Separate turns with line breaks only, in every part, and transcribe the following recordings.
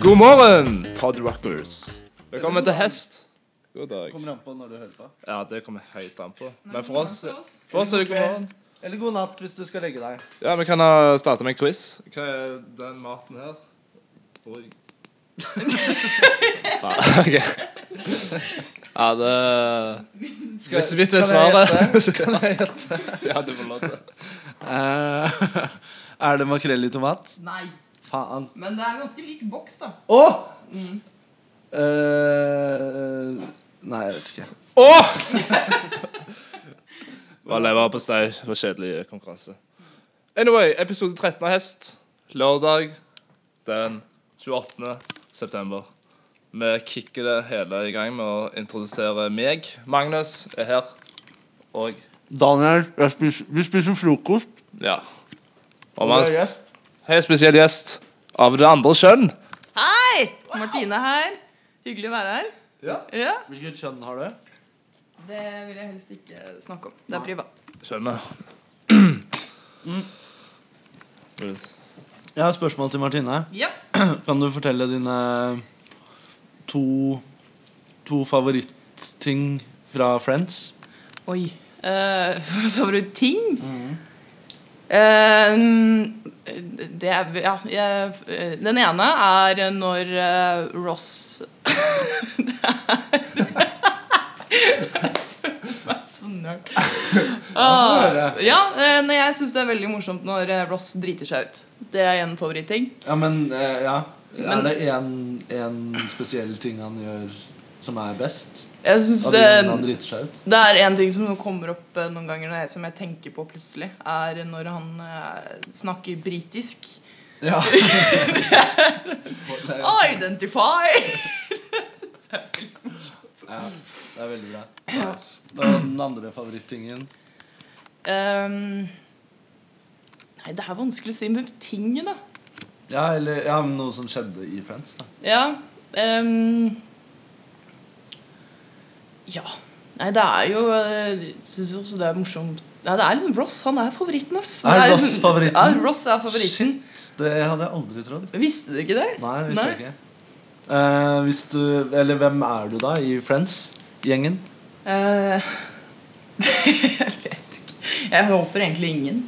God morgen, podrockers. Velkommen til Hest. God dag.
Kommer an på når du hører på.
Ja, det kommer høyt an på. Men for oss, for oss er det god morgen.
Eller god natt hvis du skal legge deg.
Ja, vi kan ha- starte med en quiz. Hva er den maten her? Oi. Faen, ok. Ja, det Hvis, hvis det er
kan jeg
svaret Kan jeg gjette? Ja, du får lov til.
er det makrell i tomat?
Nei.
Faen.
Men det er ganske lik boks, da.
Å! Eh, nei, jeg vet ikke.
Åh! Var leverpostei. Det var kjedelig konkurranse. Anyway, episode 13 av Hest. Lørdag den 28. september. Vi kicker det hele i gang med å introdusere meg. Magnus er her. Og
Daniel, vi spiser frokost.
ja. Og vi har en sp- helt spesiell gjest av det andre kjønn.
Hei! Martine her. Hyggelig å være her.
Ja.
Ja.
Hvilket kjønn har du?
Det vil jeg helst ikke snakke om. Det er privat.
Skjønner. Mm. Yes.
Jeg har et spørsmål til Martine.
Ja.
Kan du fortelle dine to, to favorittting fra Friends?
Oi. Uh, Favoritting? Eh, det er Ja. Jeg, eh, den ene er når eh, Ross Det er Så nerd. Ah, ja, eh, nei, jeg syns det er veldig morsomt når eh, Ross driter seg ut. Det er en favoritting.
Ja, men eh, ja.
Men-
er det en, en spesiell ting han gjør som er best?
Jeg synes,
Av de gangene
eh,
han driter seg ut?
Det er en ting som kommer opp eh, noen ganger når jeg, som jeg tenker på plutselig, er når han eh, snakker britisk.
Ja.
Identify! Synes jeg er veldig-
det er veldig bra. Og den andre favorittingen
Ehm, nei, det er vanskelig å si med tinget, da.
Ja, eller ja, men noe som skjedde i Friends. da
Ja. ehm, ja. Nei, det er jo Jeg syns også det er morsomt Nei, det er liksom Ross. Han er favoritten, ass.
Er
Det
Ross
liksom-
favoritten?
Ja, Ross er favoritten.
Shit, det hadde jeg aldri trodd.
Visste du ikke det?
Nei, visste
Nei.
jeg ikke. Eh, hvis du Eller hvem er du, da, i Friends-gjengen?
Eh, jeg vet ikke. Jeg håper egentlig ingen.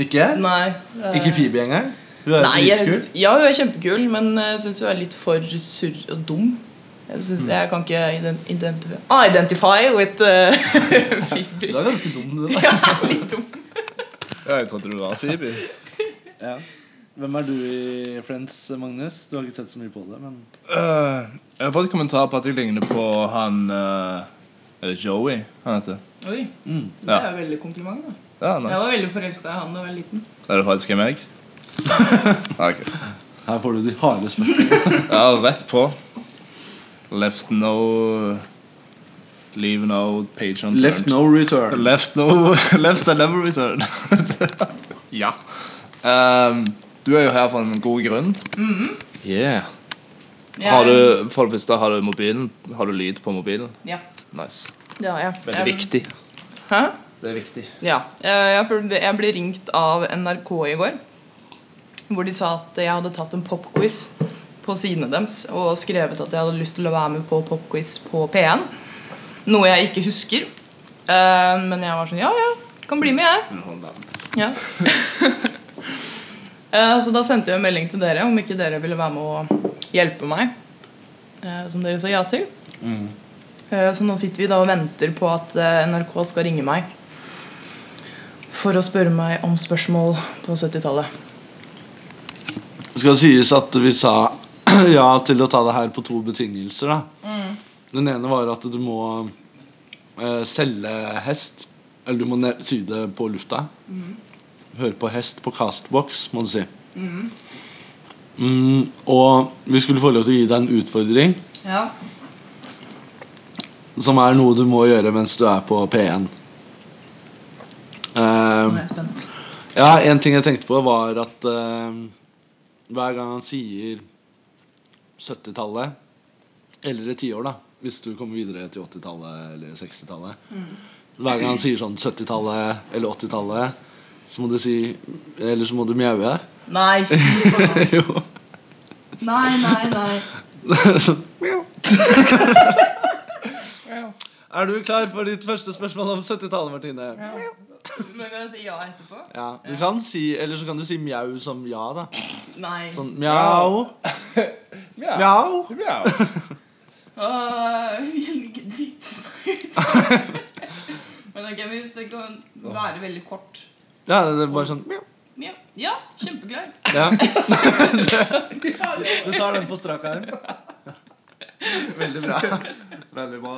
Ikke?
Nei. eh,
Ikke Phoebe engang? Hun er
Nei,
jo
jeg,
dritkul.
ja, hun er kjempekul, men eh, jeg syns hun er litt for surr og dum. Jeg,
Mm.
synes, jeg kan ikke ident identify, ah, identify with eh,
Du
Phoebe.
er ganske dum, du, da.
Ja, litt dum.
Ja, jeg trodde du var Phoebe.
Ja. Hvem er du i Friends, Magnus? Du har ikke sett så mye på det, men
Øh, jeg har fått kommentar på at jeg ligner på han øh, Er det Joey han heter?
Oi,
Mm.
det er jo veldig kompliment. da
Ja, nice.
Jeg var veldig forelska i han da jeg var liten.
Er det faktisk meg? ok.
Her får du de harde spørsmålene.
Ja, rett på. Left no Leave no page unturned.
Left no return.
Left no Left and never return. ja. Ehm, du er jo her for en god grunn. Yeah.
Jeg-
Har du, for det første, har du mobilen? Har du lyd på mobilen?
Ja,
Nice.
det har jeg.
Veldig
Jeg-
viktig.
Hæ?
Det er viktig.
Ja. eh, Jeg, føl- jeg ble ringt av NRK i går. Hvor de sa at jeg hadde tatt en popquiz på sidene deres og skrevet at jeg hadde lyst til å være med på popquiz på P1. Noe jeg ikke husker. Eh, Men jeg var sånn Ja, ja, kan bli med, jeg. Ja. Eh, Så da sendte jeg en melding til dere om ikke dere ville være med og hjelpe meg. eh, Som dere sa ja til.
Mm.
Eh, Så nå sitter vi da og venter på at eh, NRK skal ringe meg for å spørre meg om spørsmål på 70-tallet.
Det skal sies at vi sa ja til å ta det her på to betingelser. Da. Den ene var at du må eh, selge hest. Eller du må ne- si det på lufta. Høre på hest på castbox, må du si. Mm, og vi skulle få lov til å gi deg en utfordring,
Ja.
som er noe du må gjøre mens du er på P1. Eh,
spent.
Ja, en ting jeg tenkte på, var at eh, hver gang han sier 70-tallet, eller et tiår, da, hvis du kommer videre til 80-tallet eller 60-tallet Hver gang han sier sånn 70-tallet eller 80-tallet, så må du si Eller så må du mjaue.
Nei, fy faen.
Jo.
Nei, nei, nei.
Sånn, mjau. Er du klar for ditt første spørsmål om 70-tallet, Martine?
Men kan jeg si ja etterpå?
Ja, du kan si, Eller så kan du si mjau som ja, da.
Nei.
Sånn mjau,
Mjau.
mjau.
Mjau.
Åh, jeg liker dritt. Men ok, hvis det kan være veldig kort
Ja, det er bare sånn mjau.
Ja, ja kjempeklar.
Ja. Du tar den på strak arm.
Veldig bra. Veldig bra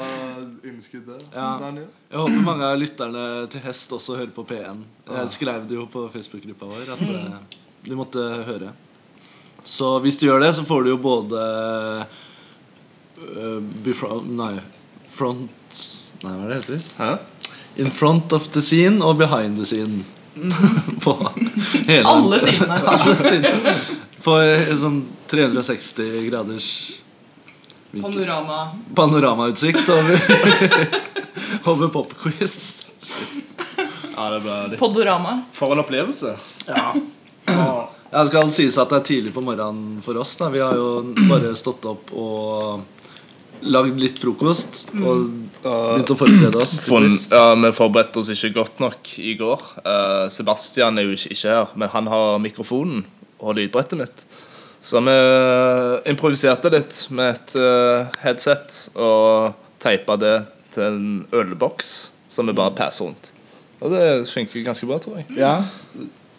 innskudd der,
Ja.
Daniel.
Jeg håper mange av lytterne til hest også hører på P1. Jeg skrev det jo på Facebook-gruppa vår at
Mm.
eh, de måtte høre. Så hvis du gjør det, så får du jo både eh, befro... Nei, front Nei, hva er det heter?
Hæ?
In front of the scene og behind the scene. på hele
Mm. Alle sidene.
Alle sidene. På eh, sånn 360 graders vinkel.
Panorama.
panoramautsikt over, over popquiz.
Ja, det ble litt
Podorama.
For en opplevelse. Ja.
Ja, det skal sies at det er tidlig på morgenen for oss. Da. Vi har jo bare stått opp og lagd litt frokost. Og begynt å forberede oss. til
Fun,
quiz.
ja, Vi forberedte oss ikke godt nok i går. Eh, Sebastian er jo ikke, ikke her, men han har mikrofonen og lydbrettet mitt. Så vi eh, improviserte litt med et eh, headset og teipa det til en ølboks som vi bare passer rundt. Og det funker ganske bra, tror jeg.
Ja.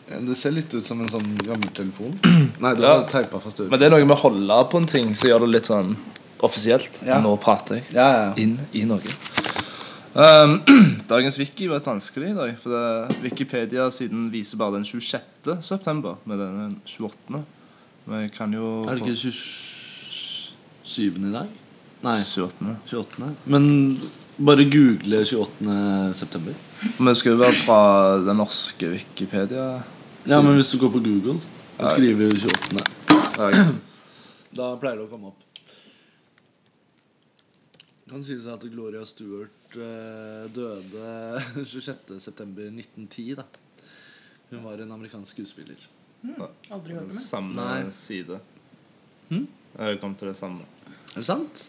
Det ser litt ut som en sånn gammel telefon. Nei, du
Ja.
har teipa fast øret.
Men det er noe med å holde på en ting som gjør det litt sånn offisielt.
Ja.
Nå prater jeg.
Ja, ja.
inn i Norge. Ehm, dagens wiki var et vanskelig i dag. For det, Wikipedia siden viser bare den 26. september. Med den 28. Men jeg kan jo
Er det ikke 27. i dag? Nei,
28.
28. Men bare google 28. september.
Men det skal jo være fra den norske Wikipedia.
Ja, men hvis du går på Google og skriver 28. Da pleier det å komme opp. Kan synes at Gloria Stewart eh, døde 26.9.1910, da. Hun var en amerikansk skuespiller.
Aldri hørt om.
Samme
Nei.
side.
Hm?
Jeg kom til det samme.
Er det sant?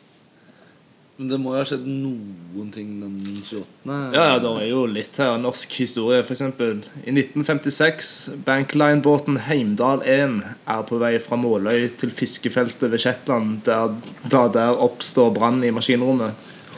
Men det må jo ha skjedd noen ting den 28.
Ja, ja, det er jo litt her. Norsk historie, f.eks. I 1956, Bankline-båten Heimdal 1 er på vei fra Måløy til fiskefeltet ved Shetland, der, da der oppstår brann i maskinrommet.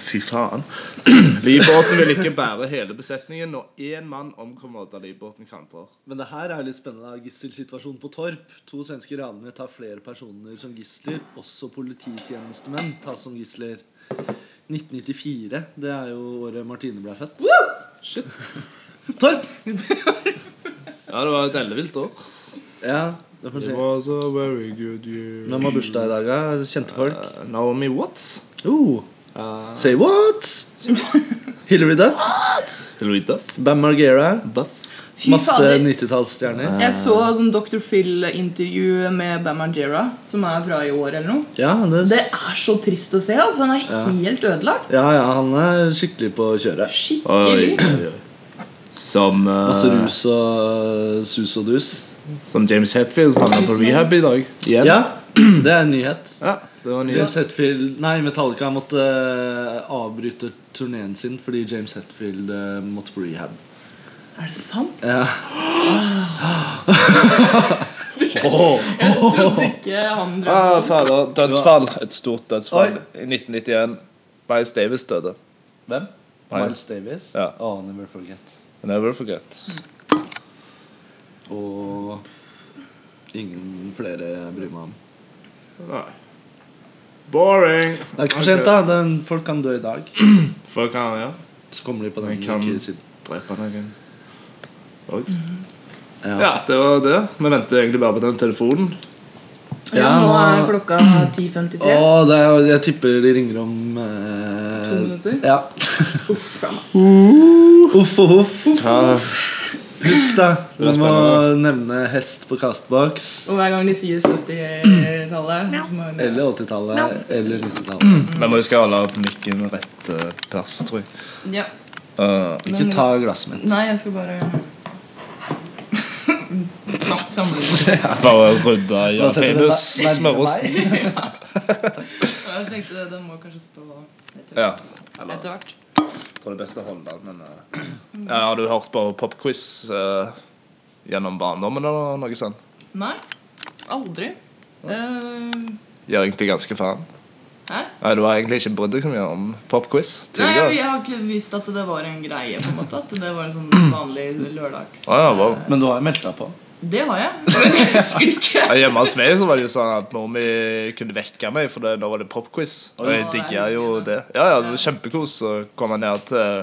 Fy faen. livbåten vil ikke bære hele besetningen, og én mann omkommer da livbåten kantrer.
Men det her er jo litt spennende. da. Gisselsituasjonen på Torp. To svenske ranere tar flere personer som gisler. Også polititjenestemenn tas som gisler. 1994. Det er jo året Martine ble født. Shit. Torp!
Ja, det var et ellevilt år.
Ja, det får vi se.
was a very good year. Eh,
Hvem har bursdag i dag, da? Kjente folk?
Naomi Watts.
Oh. Say what? Hilary Duff.
Hilary Duff.
Bam Margera.
Duff.
Fy
Masse
fader.
90-tallsstjerner.
Jeg så sånn Dr. Phil-intervju med Bam Margera, som er fra i år eller noe.
Ja,
Det
det...
er så trist å se. altså Han er helt ødelagt.
ja, ja, han er skikkelig på kjøret.
Oi,
Skikkelig.
oi, oi. Som eh,
Masse rus og eh, sus og dus.
Som James Hetfield havna på rehab i dag. Igjen.
Ja, det er en nyhet.
Ja, det var nyhet.
James Hetfield Nei, Metallica måtte eh, avbryte turneen sin fordi James Hetfield eh, måtte på rehab.
Er det sant?
Ja.
Jeg trodde ikke han drømte sånn.
Ah, fader. Dødsfall. Et stort dødsfall. I 1991. Miles Davis døde.
Hvem?
Nei.
Miles Davis.
Ja.
Oh, never forget.
Never forget.
Og ingen flere bryr meg om.
Nei. Boring.
Det er ikke for sent, da. Den, folk kan dø i dag.
Folk kan ja.
Så kommer de på den
Vi kan-
ikke siden.
drepe noen. Oi.
Ja.
Ja, det var det. Vi venter egentlig bare på den telefonen.
Ja, nå er
nå-
klokka 10.53.
Å, det er, jeg tipper de ringer om eh,
To minutter?
Ja.
Uff, faen.
Uff og huff.
Ja.
Husk det.
Det var
Du må
spennende.
nevne hest på kastboks.
Og hver gang de sier 70-tallet må jeg-
Eller 80-tallet. Eller 90-tallet.
Vi må huske å holde mikken rett eh, plass, tror jeg.
ja.
Eh,
Ikke ta glasset mitt.
Nei, jeg skal bare Nå, sammenlignet.
bare rydde i
Bare setter
penis,
den der-
smørosten.
nærmere meg.
Jeg tenkte den må kanskje stå etter,
Ja.
etter hvert.
Jeg tror det er best å holde den, men eh, ja, Har du hørt på popquiz eh, gjennom barndommen eller noe sånt?
Nei, aldri. Eh,
Gjør egentlig ganske faen.
hæ?
Nei, Du har egentlig ikke brydd deg så mye om popquiz
Nei, jeg,
tidligere.
jeg har ikke visst at det var en greie, på en måte. At det var en sånn vanlig lørdags...
Å, Ah, ja, wow.
Men du har jo meldt deg på.
Det har jeg. Men jeg husker ikke.
Ja, Hjemme hos meg så var det jo sånn at mor mi kunne vekke meg, for det, da var det popquiz. Og jeg
Ja, det er
digga jo
hyggelig, da.
det. Ja, ja, det var Kjempekos. Så kom jeg ned til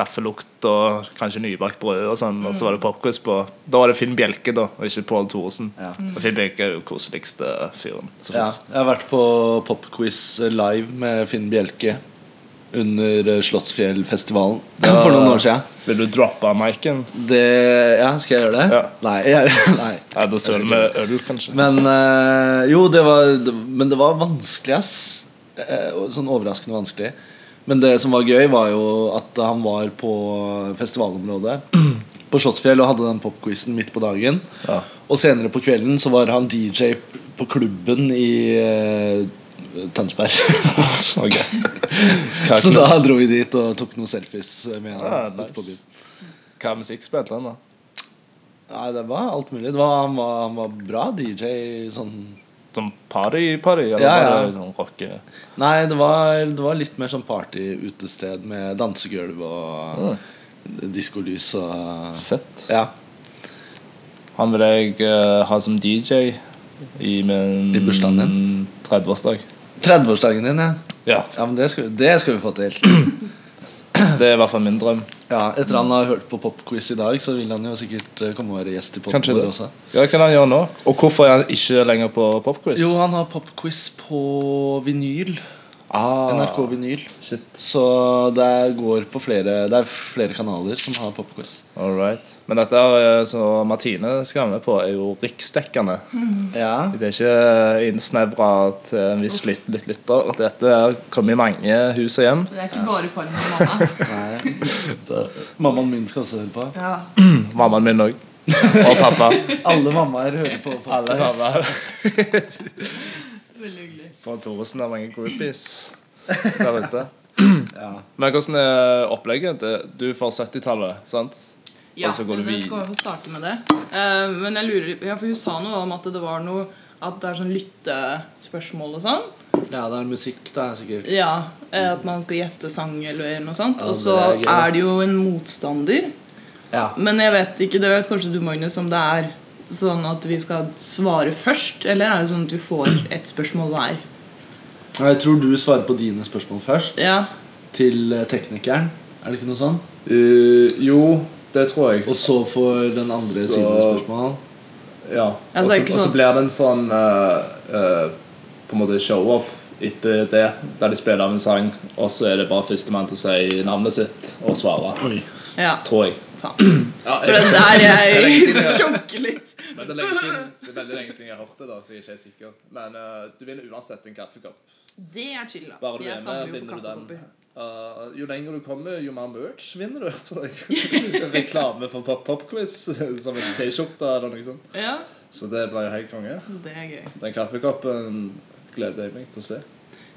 kaffelukt og kanskje nybakt brød og sånn, og så
Mm.
var det popquiz på Da var det Finn Bjelke, da, og ikke Pål Thoresen.
Ja.
Og Finn Bjelke er jo koseligste fyren. som
Ja,
finnes.
jeg har vært på popquiz live med Finn Bjelke under eh, Slottsfjellfestivalen
Ja.
for noen år siden.
Vil du droppe miken?
Det, ja, skal jeg gjøre det?
Ja.
Nei, jeg, nei.
Ja, da søler vi øl, kanskje.
Men eh, jo, det var, det- men det var vanskelig, ass. Eh, og sånn overraskende vanskelig. Men det som var gøy, var jo at han var på festivalområdet på Slottsfjell og hadde den popquizen midt på dagen.
Ja.
Og senere på kvelden så var han DJ på klubben i eh, Tønsberg.
Ok.
så da dro vi dit og tok noen selfies med han.
Ja,
ute på byen.
Ah, nice. Hva musikk spilte han, da?
Nei, det var alt mulig. Det var, han, var, han var bra DJ. Sånn
Som party-party? Eller
Ja, ja.
bare sånn rocke?
Nei, det var, det var litt mer sånn party-utested med dansegulv og diskolys og
Fett.
Ja.
Han vil jeg eh, ha som DJ i min
I bursdagen
30-årsdag.
30-årsdagen din, ja.
Ja.
Ja, men det skal, det skal vi få til.
Det er i hvert fall min drøm.
Ja, Etter han har hørt på popquiz i dag, så vil han jo sikkert eh, komme og være gjest i
Kanskje
Popquiz
det.
også.
Ja, Hva kan han gjøre nå? Og hvorfor er han ikke lenger på popquiz?
Jo, han har popquiz på vinyl.
Ah,
NRK Vinyl. Så det går på flere Det er flere kanaler som har popquiz.
all right. Men dette er, eh, som Martine skal være med på, er jo riksdekkende.
Ja.
Det er ikke eh, innsnevra til eh, en viss lyt- lyt- lytter. Dette kommer i mange hus og hjem.
Det er ikke bare farmen til mamma.
Nei. Mammaen min skal også høre på.
Ja.
Mammaen min òg. Og pappa.
Alle mammaer hører på popquiz.
Veldig hyggelig.
Fra Thoresen er mange groupies der ute. Men hvordan er opplegget? Det- Du får 70-tallet, sant?
Ja,
Og så går du
men jeg
vid-
skal jo få starte med det. Eh, men jeg lurer Ja, for hun sa noe om at det var noe At det er sånn lyttespørsmål og sånn.
Ja, det er musikk, det er sikkert.
Ja, eh, At man skal gjette sang eller noe sånt.
Ja,
Og så
det er gøy.
er det jo en motstander.
Ja.
Men jeg vet ikke, det vet kanskje du Magnus om det er sånn at vi skal svare først, eller er det sånn at vi får ett spørsmål hver?
Jeg tror du svarer på dine spørsmål først.
Ja,
Til eh, teknikeren. Er det ikke noe sånn?
Eh, jo, det tror jeg.
Og så får den andre
Så-
sine spørsmål.
Ja.
Altså, det er ikke
Og så
sånn-
blir det en sånn eh, eh, på en måte show-off etter det, der de spiller av en sang, og så er det bare førstemann til å si navnet sitt og svare.
ja,
Tror jeg.
faen.
Ja,
For det er der jeg sjokker litt.
Men det er, lenge siden, det er veldig lenge siden jeg har hørt det, da, så jeg er ikke helt sikker. Men eh, du vinner uansett en kaffekopp.
Det er chill, da.
Bare du
Jeg
er
samler
med,
jo
vinner
på
du den.
kaffekopper.
Eh, jo lenger du kommer, jo mer merch vinner du. tror jeg. Reklame for pop popquiz som en T-skjorte eller noe sånt.
Ja,
Så det ble jo helt konge.
det er gøy.
Den kaffekoppen gleder jeg meg til å se.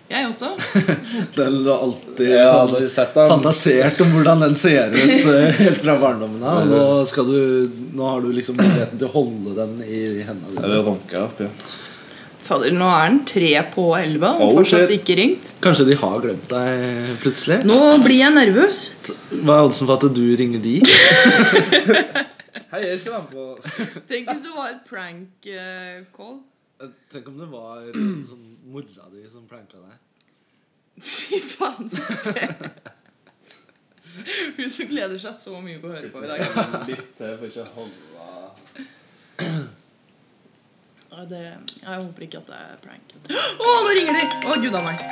Jeg også.
Den du alltid
Jeg har
sånn
aldri sett den.
fantasert om hvordan den ser ut eh, helt fra barndommen av. Og nå, skal du, nå har du liksom muligheten til å holde den i hendene
Jeg vil
dine.
runke opp igjen.
Fader, nå er den tre på elleve, og
Oh,
fortsatt
shit.
ikke ringt.
Kanskje de har glemt deg plutselig?
Nå blir jeg nervøs.
Hva er oddsen for at du ringer de?
Hei, jeg skal være med på
Tenk hvis det var et prank eh, call.
Tenk om det var sånn mora di som planka deg.
Fy faen, det sted. Hun som gleder seg så mye på å høre på i dag.
litt til for ikke å holde
Ja, det, jeg håper ikke at det er prank. Å, nå ringer de! Å, gud a meg.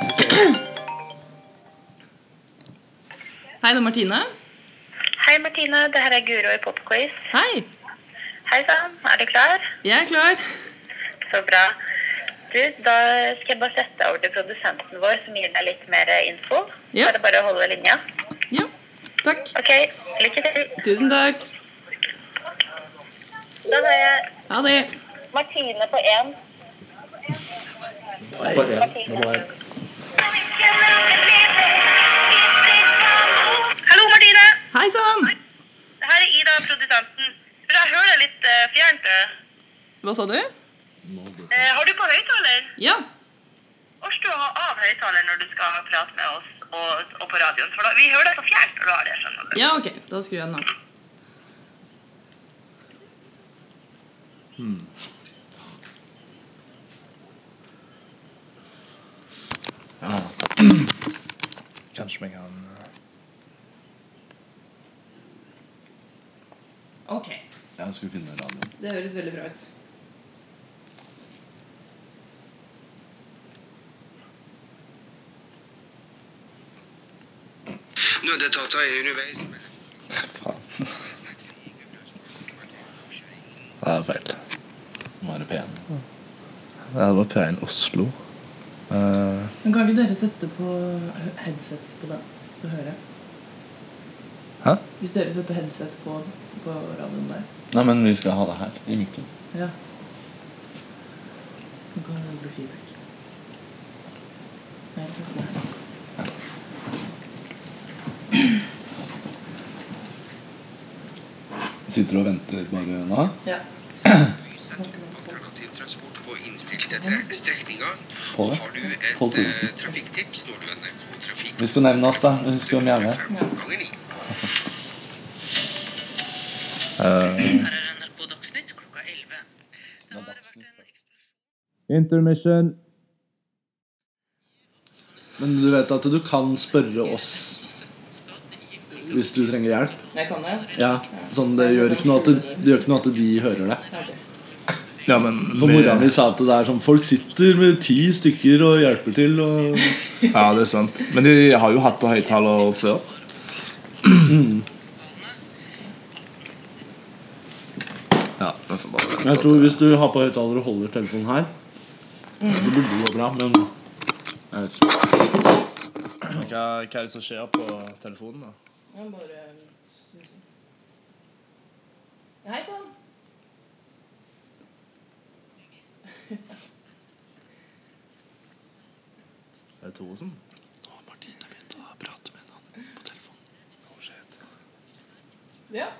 Hei, det er Martine.
Hei, Martine. Det her er Guro i Popquiz.
Hei!
Hei sann, er du klar?
Jeg er klar.
Så bra. Du, da skal jeg bare sette over til produsenten vår, som gir deg litt mer eh, info.
Ja.
Så er det bare å holde linja.
Ja. Takk.
OK, lykke til.
Tusen takk.
Da har jeg
Ha det.
Martine på én. Hallo, Martine.
Hei sann!
Her er Ida, produsenten. Du, jeg hører deg litt eh, fjernt. eh.
Hva sa du?
Eh, har du på høyttaler?
Ja.
Orsk å ha av høyttaler når du skal prate med oss og, og på radioen. For da, vi hører deg så fjernt når du har det. skjønner du.
Ja, ok. Da skrur jeg den av.
Kanskje vi kan
Ok.
Jeg skulle finne radioen.
Det høres veldig bra ut.
Nødetater er underveis.
Faen. Det er feil.
Bare pen.
Det var P1 Oslo. Eh,
Men Kan ikke dere sette på headsets på den, så hører jeg?
Hæ?
Hvis dere setter headset på, på radioen der.
Nei, men vi skal ha det her. I mikken.
Ja. Nå kan det bli feedback. Nei, det er ikke det.
Sitter og venter bare nå?
Ja.
Alternativtransport på innstilte tre- strekninger.
På det?
Har du et
På tusen.
eh, trafikktips, når du NRK Trafikk
Husk å nevne oss, da. Husk å mjaue.
fem ganger ni.
Her er NRK Dagsnytt klokka 11. Det har vært en
Men du vet at du kan spørre oss hvis du trenger hjelp?
Jeg kan det.
Ja. Sånn, det gjør ikke noe at, det gjør ikke noe at de hører det.
ja, men
For mora mi sa at det er sånn Folk sitter med ti stykker og hjelper til og
Ja, det er sant. Men de har jo hatt på høyttaler før.
Mm.
Ja, den får bare
Jeg tror hvis du har på høyttaler og holder telefonen her, så blir det gå bra, men jeg vet ikke.
Hva, hva er det som skjer på telefonen, da?
Hei sann!
Er det Thoresen?
Ja.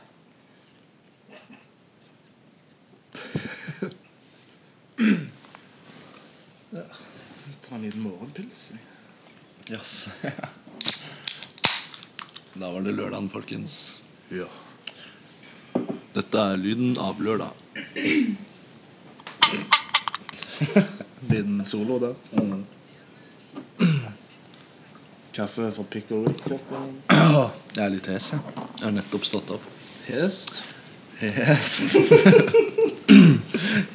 Ta en liten morgenpils.
Yes. Da var det lørdagen, folkens.
Ja.
Dette er lyden av lørdag.
Liten solo der. Mm. Kaffe fra pickle-koppen.
Jeg er litt hes, jeg. Jeg har nettopp stått opp.
Hest.
Hest.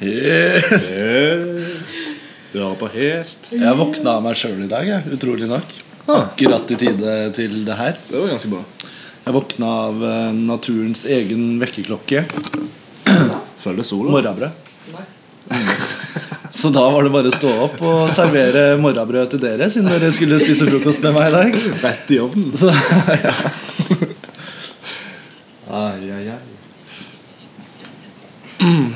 Hest.
Hest. Du hører på hest.
Jeg våkna av meg sjøl i dag, jeg. Utrolig nok.
Ah.
Akkurat i tide til det her.
Det var ganske bra.
Jeg våkna av eh, naturens egen vekkerklokke.
Følger sola.
Morrabrød. Så da var det bare å stå opp og servere morrabrød til dere, siden dere skulle spise frokost med meg i dag.
Rett i ovnen.
Så, ja.
Ai, ai, ai.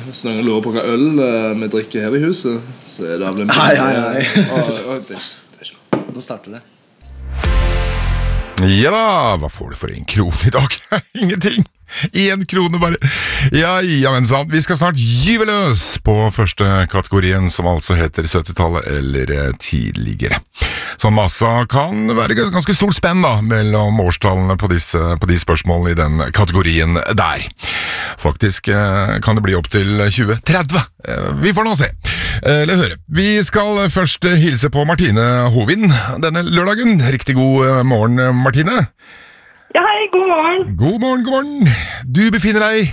Hvis noen lurer på hva øl eh, vi drikker her i huset, så er det vel en
Nei, nei, nei.
Å, å, det er ikke- det er ikke noe.
Nå starter det.
Ja da, hva får du for en krone i dag? Ingenting! Én krone, bare. Ja, ja, men sant. Vi skal snart gyve løs på første kategorien, som altså heter 70-tallet eller eh, tidligere. Som altså kan være gans- ganske stort spenn da, mellom årstallene på, disse, på de spørsmålene i den kategorien der. Faktisk eh, kan det bli opptil 20-30. Eh, Vi får nå se. Eh, Eller høre. Vi skal først eh, hilse på Martine Hovin denne lørdagen. Riktig god eh, morgen, eh, Martine.
Ja, hei, god morgen.
God morgen, god morgen. Du befinner deg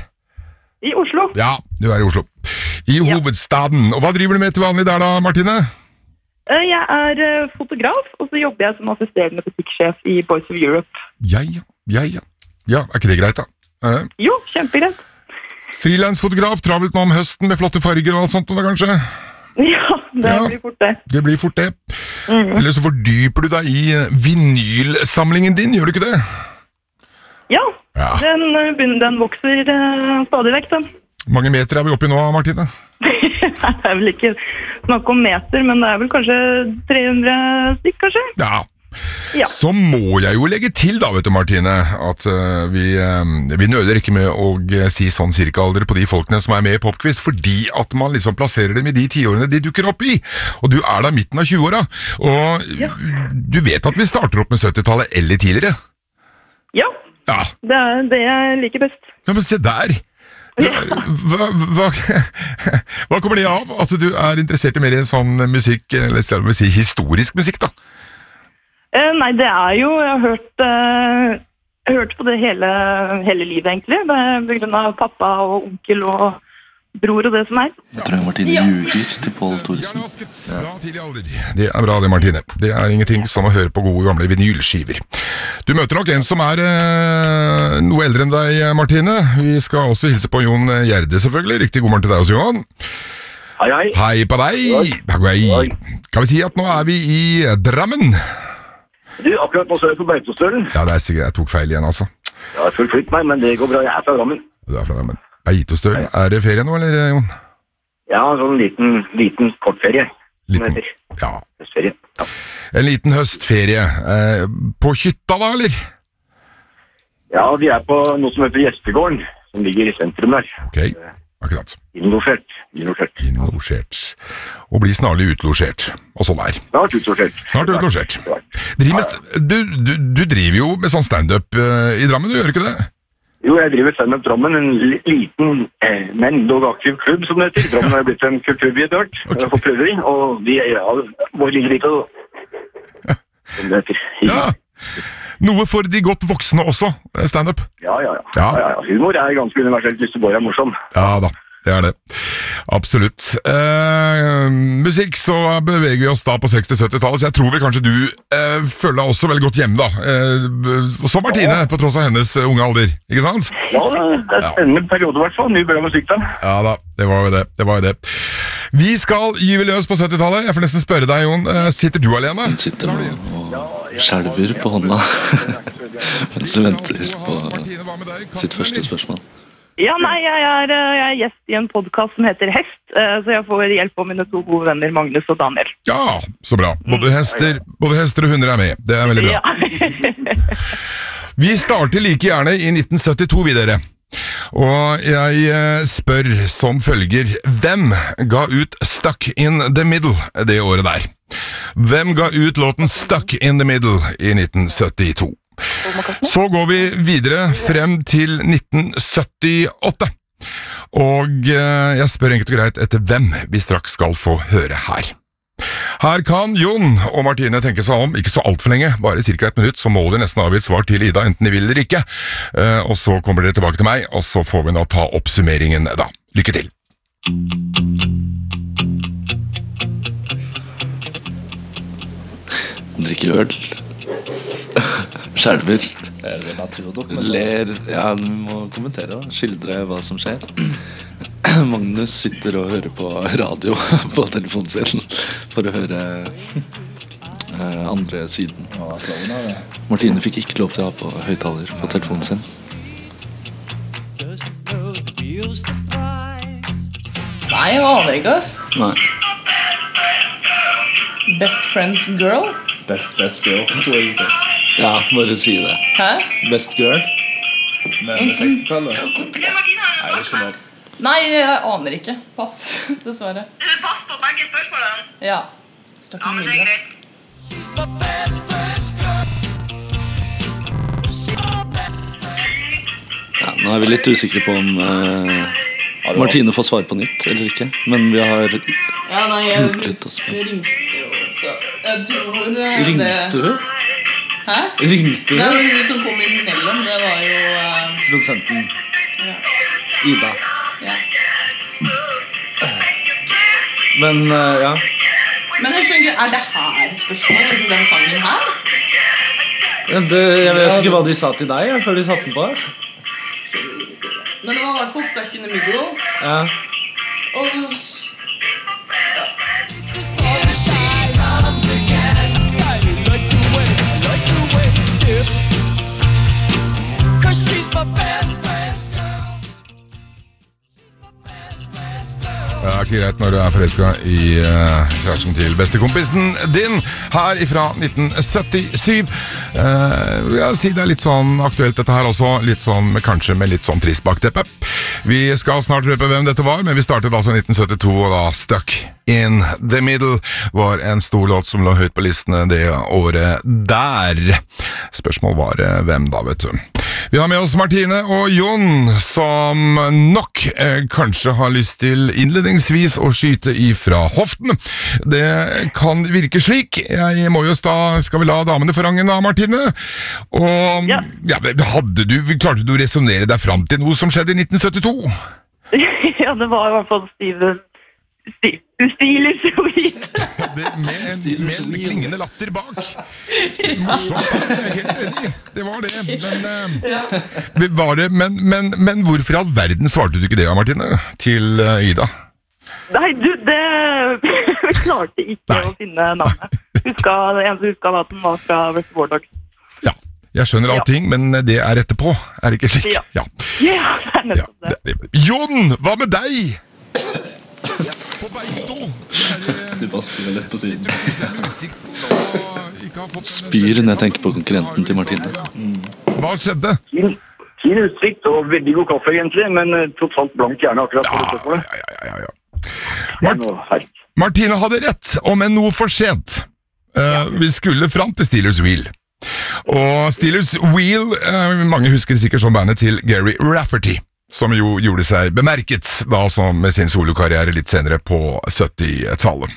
I Oslo.
Ja, du er i Oslo. I hovedstaden. Og hva driver du med til vanlig der da, Martine?
Eh, Jeg er eh, fotograf, og så jobber jeg som assisterende butikksjef i Boys of Europe.
Ja, ja, ja, ja. Ja, er ikke det greit, da? Eh,
Jo, kjempegreit.
Frilansfotograf, travelt nå om høsten med flotte farger og alt sånt, da, kanskje?
Ja, det blir fort det. Mm.
Det blir fort det. Eller så fordyper du deg i eh, vinylsamlingen din, gjør du ikke det?
Ja,
Ja.
Den, eh, begynner- den vokser eh, stadig vekk, den.
Mange meter er vi oppe i nå, Martine?
det er vel ikke snakk om meter, men det er vel kanskje 300 stykk, kanskje?
Ja.
Ja.
Så må jeg jo legge til, da, vet du, Martine, at eh, vi, eh, vi nøler ikke med å eh, si sånn cirkaalder på de folkene som er med i Popquiz, fordi at man liksom plasserer dem i de tiårene de dukker opp i. Og du er da midten av 20-åra, og du vet at vi starter opp med 70-tallet eller tidligere?
Ja.
Ja.
Det er det jeg liker best.
Ja, men se der! Det er- Hva, hva, hva kommer det av? At du er interessert i mer i en sånn musikk, eller skal vi si historisk musikk, da?
Eh, nei, det er jo Jeg har hørt, eh, jeg har hørt på det hele, hele livet, egentlig. Det er på grunn av pappa og onkel og bror og det som er.
Jeg tror Martine ljuger til Pål Thoresen.
Det er bra det, Martine. Det er ingenting som å høre på gode gamle vinylskiver. Du møter nok en som er eh, noe eldre enn deg, Martine. Vi skal også hilse på Jon Gjerde, selvfølgelig. Riktig god morgen til deg også, Johan.
Hei, hei.
Hei på deg. Hei. Kan vi si at nå er vi i Drammen?
Du, akkurat nå så er jeg på Beitostølen.
Ja, det er sikkert jeg tok feil igjen, altså.
Jeg har forflytt meg, men det går bra. Jeg er fra Drammen.
Du er fra Drammen. Beitostølen. Er det ferie nå, eller, Jon?
Jeg har en sånn liten, liten kortferie.
Liten, ja.
Høstferie.
En liten høstferie. Eh, på hytta, da, eller?
Ja, vi er på noe som heter Gjestegården, som ligger i sentrum der.
Ok, akkurat.
Innlosjert. Innlosjert.
Innlosjert. Og blir snarlig utlosjert. Og sånn er.
Snart utsortert.
Snart utlosjert. Driver med st- Du, du, du driver jo med sånn standup eh, i Drammen, du gjør ikke det?
Jo, jeg driver standup Drammen, en li- liten, eh, men dog aktiv klubb, som det heter. Drammen har blitt en kulturby etter hvert, eh, for prøveri, og vi er av vår lille lite, som det heter.
Noe for de godt voksne også, eh, standup.
Ja, ja, ja.
Ja.
ja, ja. Humor er ganske universelt hvis du bare er morsom.
Ja da, det er det. Absolutt. Eh, musikk, så beveger vi oss da på 60-70-tallet, så jeg tror vel kanskje du eh, føler deg også veldig godt hjemme, da. Eh, som Martine, på tross av hennes eh, unge alder, ikke sant?
Ja, det er en spennende periode i hvert fall. Mye bra musikk da.
Ja da, det var jo det. det, var jo det. Vi skal gyve løs på 70-tallet. Jeg får nesten spørre deg, Jon. eh, Sitter du alene?
Hun sitter nå og skjelver på hånda mens hun venter på sitt første spørsmål.
Ja, nei, jeg er, eh, jeg er gjest i en podkast som heter Hest, eh, så jeg får hjelp av mine to gode venner Magnus og Daniel.
Ja, så bra. Både hester, både hester og hunder er med. Det er veldig bra. Vi starter like gjerne i 1972, vi dere. Og jeg eh, spør som følger Hvem ga ut Stuck in the Middle det året der? Hvem ga ut låten Stuck in the Middle i 1972? Så går vi videre frem til 1978. Og eh, jeg spør enkelt og greit etter hvem vi straks skal få høre her. Her kan Jon og Martine tenke seg om, ikke så altfor lenge, bare ca. et minutt, så må de nesten avgi et svar til Ida, enten de vil eller ikke. Eh, Og så kommer dere tilbake til meg, og så får vi nå ta oppsummeringen da. Lykke til.
Hun drikker øl. Skjelver.
Er det naturdokumentar?
Ler. Ja, du må kommentere, da. Skildre hva som skjer. Magnus sitter og hører på radio på telefonen sin for å høre eh, andre siden. Martine fikk ikke lov til å ha på høyttaler på telefonen sin.
Nei, jeg aner ikke, ass.
Nei.
Best friends girl?
Best, best girl. tror jeg hun sier.
Ja, bare si det.
Hæ?
Best girl.
Men med 60-tallet Nei, det er ikke lov.
Nei, jeg aner ikke. Pass, dessverre.
Pass på begge spørsmålene.
Ja. Stakk
Ja,
med
men det er
middag.
greit.
Ja, nå er vi litt usikre på om eh, Martine får svare på nytt eller ikke. Men vi har
Ja, nei,
Kult litt, altså.
jeg ringte jo, så Jeg tror eh,
Ringte
det
du?
Hæ?
Ringte
Nei,
du
men hun som kom imellom, det var jo eh,
produsenten
ja.
Ida?
ja.
Men eh, ja.
altså, Men jeg skjønner ikke, er det her spørsmålet? Liksom den sangen her?
Det, jeg vet ikke hva de sa til deg jeg, før de satte den på.
Men det var i hvert fall stuck in the middle.
Ja.
Og så s-
Det er ikke greit når du er forelska i eh, kjæresten til bestekompisen din. Her ifra 1977. Eh, jeg si det er litt sånn aktuelt dette her også. Litt sånn, med- kanskje med litt sånn trist bakteppe. Vi skal snart røpe hvem dette var, men vi startet altså i 1972, og da Stuck in the Middle var en stor låt som lå høyt på listene det året der. Spørsmål var eh, hvem da, vet du. Vi har med oss Martine og Jon, som nok eh, kanskje har lyst til innledningsvis å skyte ifra hoften. Det kan virke slik. Jeg må jo sta, skal vi la damene få rangen da, Martine? Og ja. men hadde du, klarte du å resonnere deg fram til noe som skjedde i 1972?
ja, det var i hvert fall Steven Sti- Stilis og hvit.
Med en klingende latter bak. Morsomt. Jeg er helt enig. Det var det. Men, eh, var det men, men, men hvorfor i all verden svarte du ikke det, Martine, til eh, Ida?
Nei, du, det Vi klarte ikke å finne navnet. Huska, det eneste huska var at den var fra West Wardogs.
Jeg skjønner allting, men det er etterpå. Er det ikke slik?
Ja.
Ja.
Ja, det er nettopp det.
Jon, hva med deg? eh,
Du bare spiller litt på siden. Spyr når jeg tenker på konkurrenten til Martine.
Hva skjedde?
Fin, fin utsikt og veldig god kaffe, egentlig, men eh, totalt blank hjerne akkurat på det spørsmålet.
Ja, ja, ja, Martine hadde rett, om enn noe for sent. Eh, Vi skulle fram til Steelers Wheel. Og Steelers Wheel eh, Mange husker sikkert som bandet til Gary Rafferty, som jo gjorde seg bemerket da som med sin solokarriere litt senere på 70-tallet.